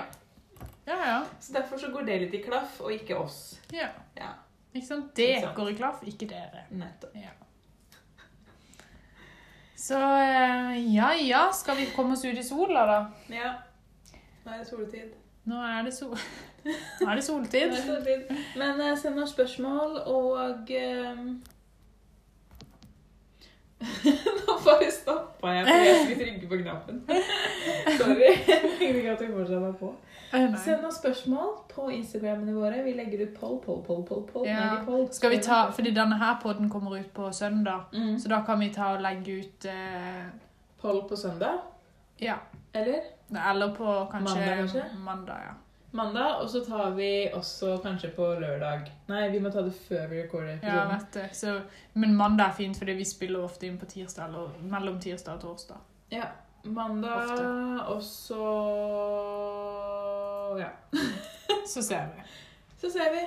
Speaker 2: Ja, ja.
Speaker 1: *laughs* Så derfor så går det litt i klaff, og ikke oss.
Speaker 2: ja.
Speaker 1: Ja,
Speaker 2: Ikke sant? Det
Speaker 1: Ikke sant.
Speaker 2: går i klaff, ikke dere.
Speaker 1: nettopp.
Speaker 2: Ja. Så eh, ja, ja, skal vi komme oss ut i sola, da?
Speaker 1: Ja. Nå er det soletid.
Speaker 2: Nå er det, sol... Nå er det
Speaker 1: Nå er
Speaker 2: soltid.
Speaker 1: det soletid. Men eh, send oss spørsmål, og ehm, *laughs* Nå bare stoppa jeg fordi jeg skulle trykke på
Speaker 2: *laughs*
Speaker 1: knappen. Sorry. Jeg tenkte ikke at jeg fortsatt var på.
Speaker 2: Eh, nei.
Speaker 1: Send oss spørsmål på Instagrammene våre. Vi legger ut poll, poll, poll, poll. poll.
Speaker 2: Ja.
Speaker 1: Nei, poll.
Speaker 2: Skal vi ta, fordi denne her podden kommer ut på søndag,
Speaker 1: Mm.
Speaker 2: så da kan vi ta og legge ut eh,
Speaker 1: Poll på søndag,
Speaker 2: Ja.
Speaker 1: eller?
Speaker 2: Eller på kanskje
Speaker 1: Mandag, kanskje?
Speaker 2: Mandag, ja.
Speaker 1: Mandag, og så tar vi også kanskje på lørdag. Nei, vi må ta det før vi recorder
Speaker 2: ja jeg
Speaker 1: episoden.
Speaker 2: vet det. Så, men mandag er fint, fordi vi spiller ofte inn på tirsdag, eller mellom tirsdag og torsdag.
Speaker 1: Ja, mandag, og så Ja.
Speaker 2: Så ser vi.
Speaker 1: Så ser vi.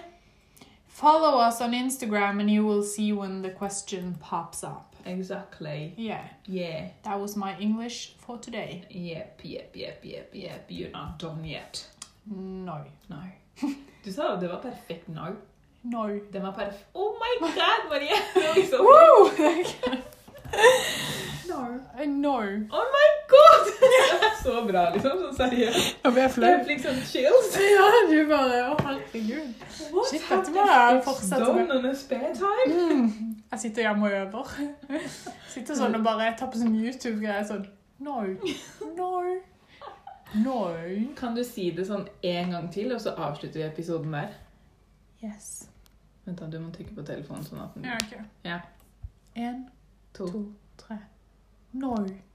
Speaker 2: Follow us on Instagram and you will see when the question pops up.
Speaker 1: Exactly.
Speaker 2: Yeah,
Speaker 1: Yeah.
Speaker 2: that was my English for today.
Speaker 1: Yep, yep, yep, yep, yep. You're not done yet.
Speaker 2: No.
Speaker 1: No. Du sa jo det var perfekt nå.
Speaker 2: No.
Speaker 1: Den var perfekt. Oh my god, Marie! Det var liksom-
Speaker 2: Woo! *laughs*
Speaker 1: No.
Speaker 2: no.
Speaker 1: Oh my god! *laughs* Det er så bra, liksom. Sånn seriøst.
Speaker 2: Jeg ble
Speaker 1: Jeg fikk sånn chills.
Speaker 2: Ja, du bare Å, herregud.
Speaker 1: What
Speaker 2: Shit,
Speaker 1: have
Speaker 2: dette må jeg
Speaker 1: the kids
Speaker 2: fortsette
Speaker 1: done
Speaker 2: med.
Speaker 1: on a spare time?
Speaker 2: Mm. Jeg sitter hjemme og øver. Sitter sånn og bare tar på sånn YouTube-greier sånn No. No. No.
Speaker 1: Kan du si det sånn en gang til, og så avslutter vi episoden der?
Speaker 2: Yes.
Speaker 1: Vent da, du må trykke på telefonen sånn at den
Speaker 2: Ja, ok.
Speaker 1: Ja.
Speaker 2: En,
Speaker 1: To.
Speaker 2: to, tre. Når?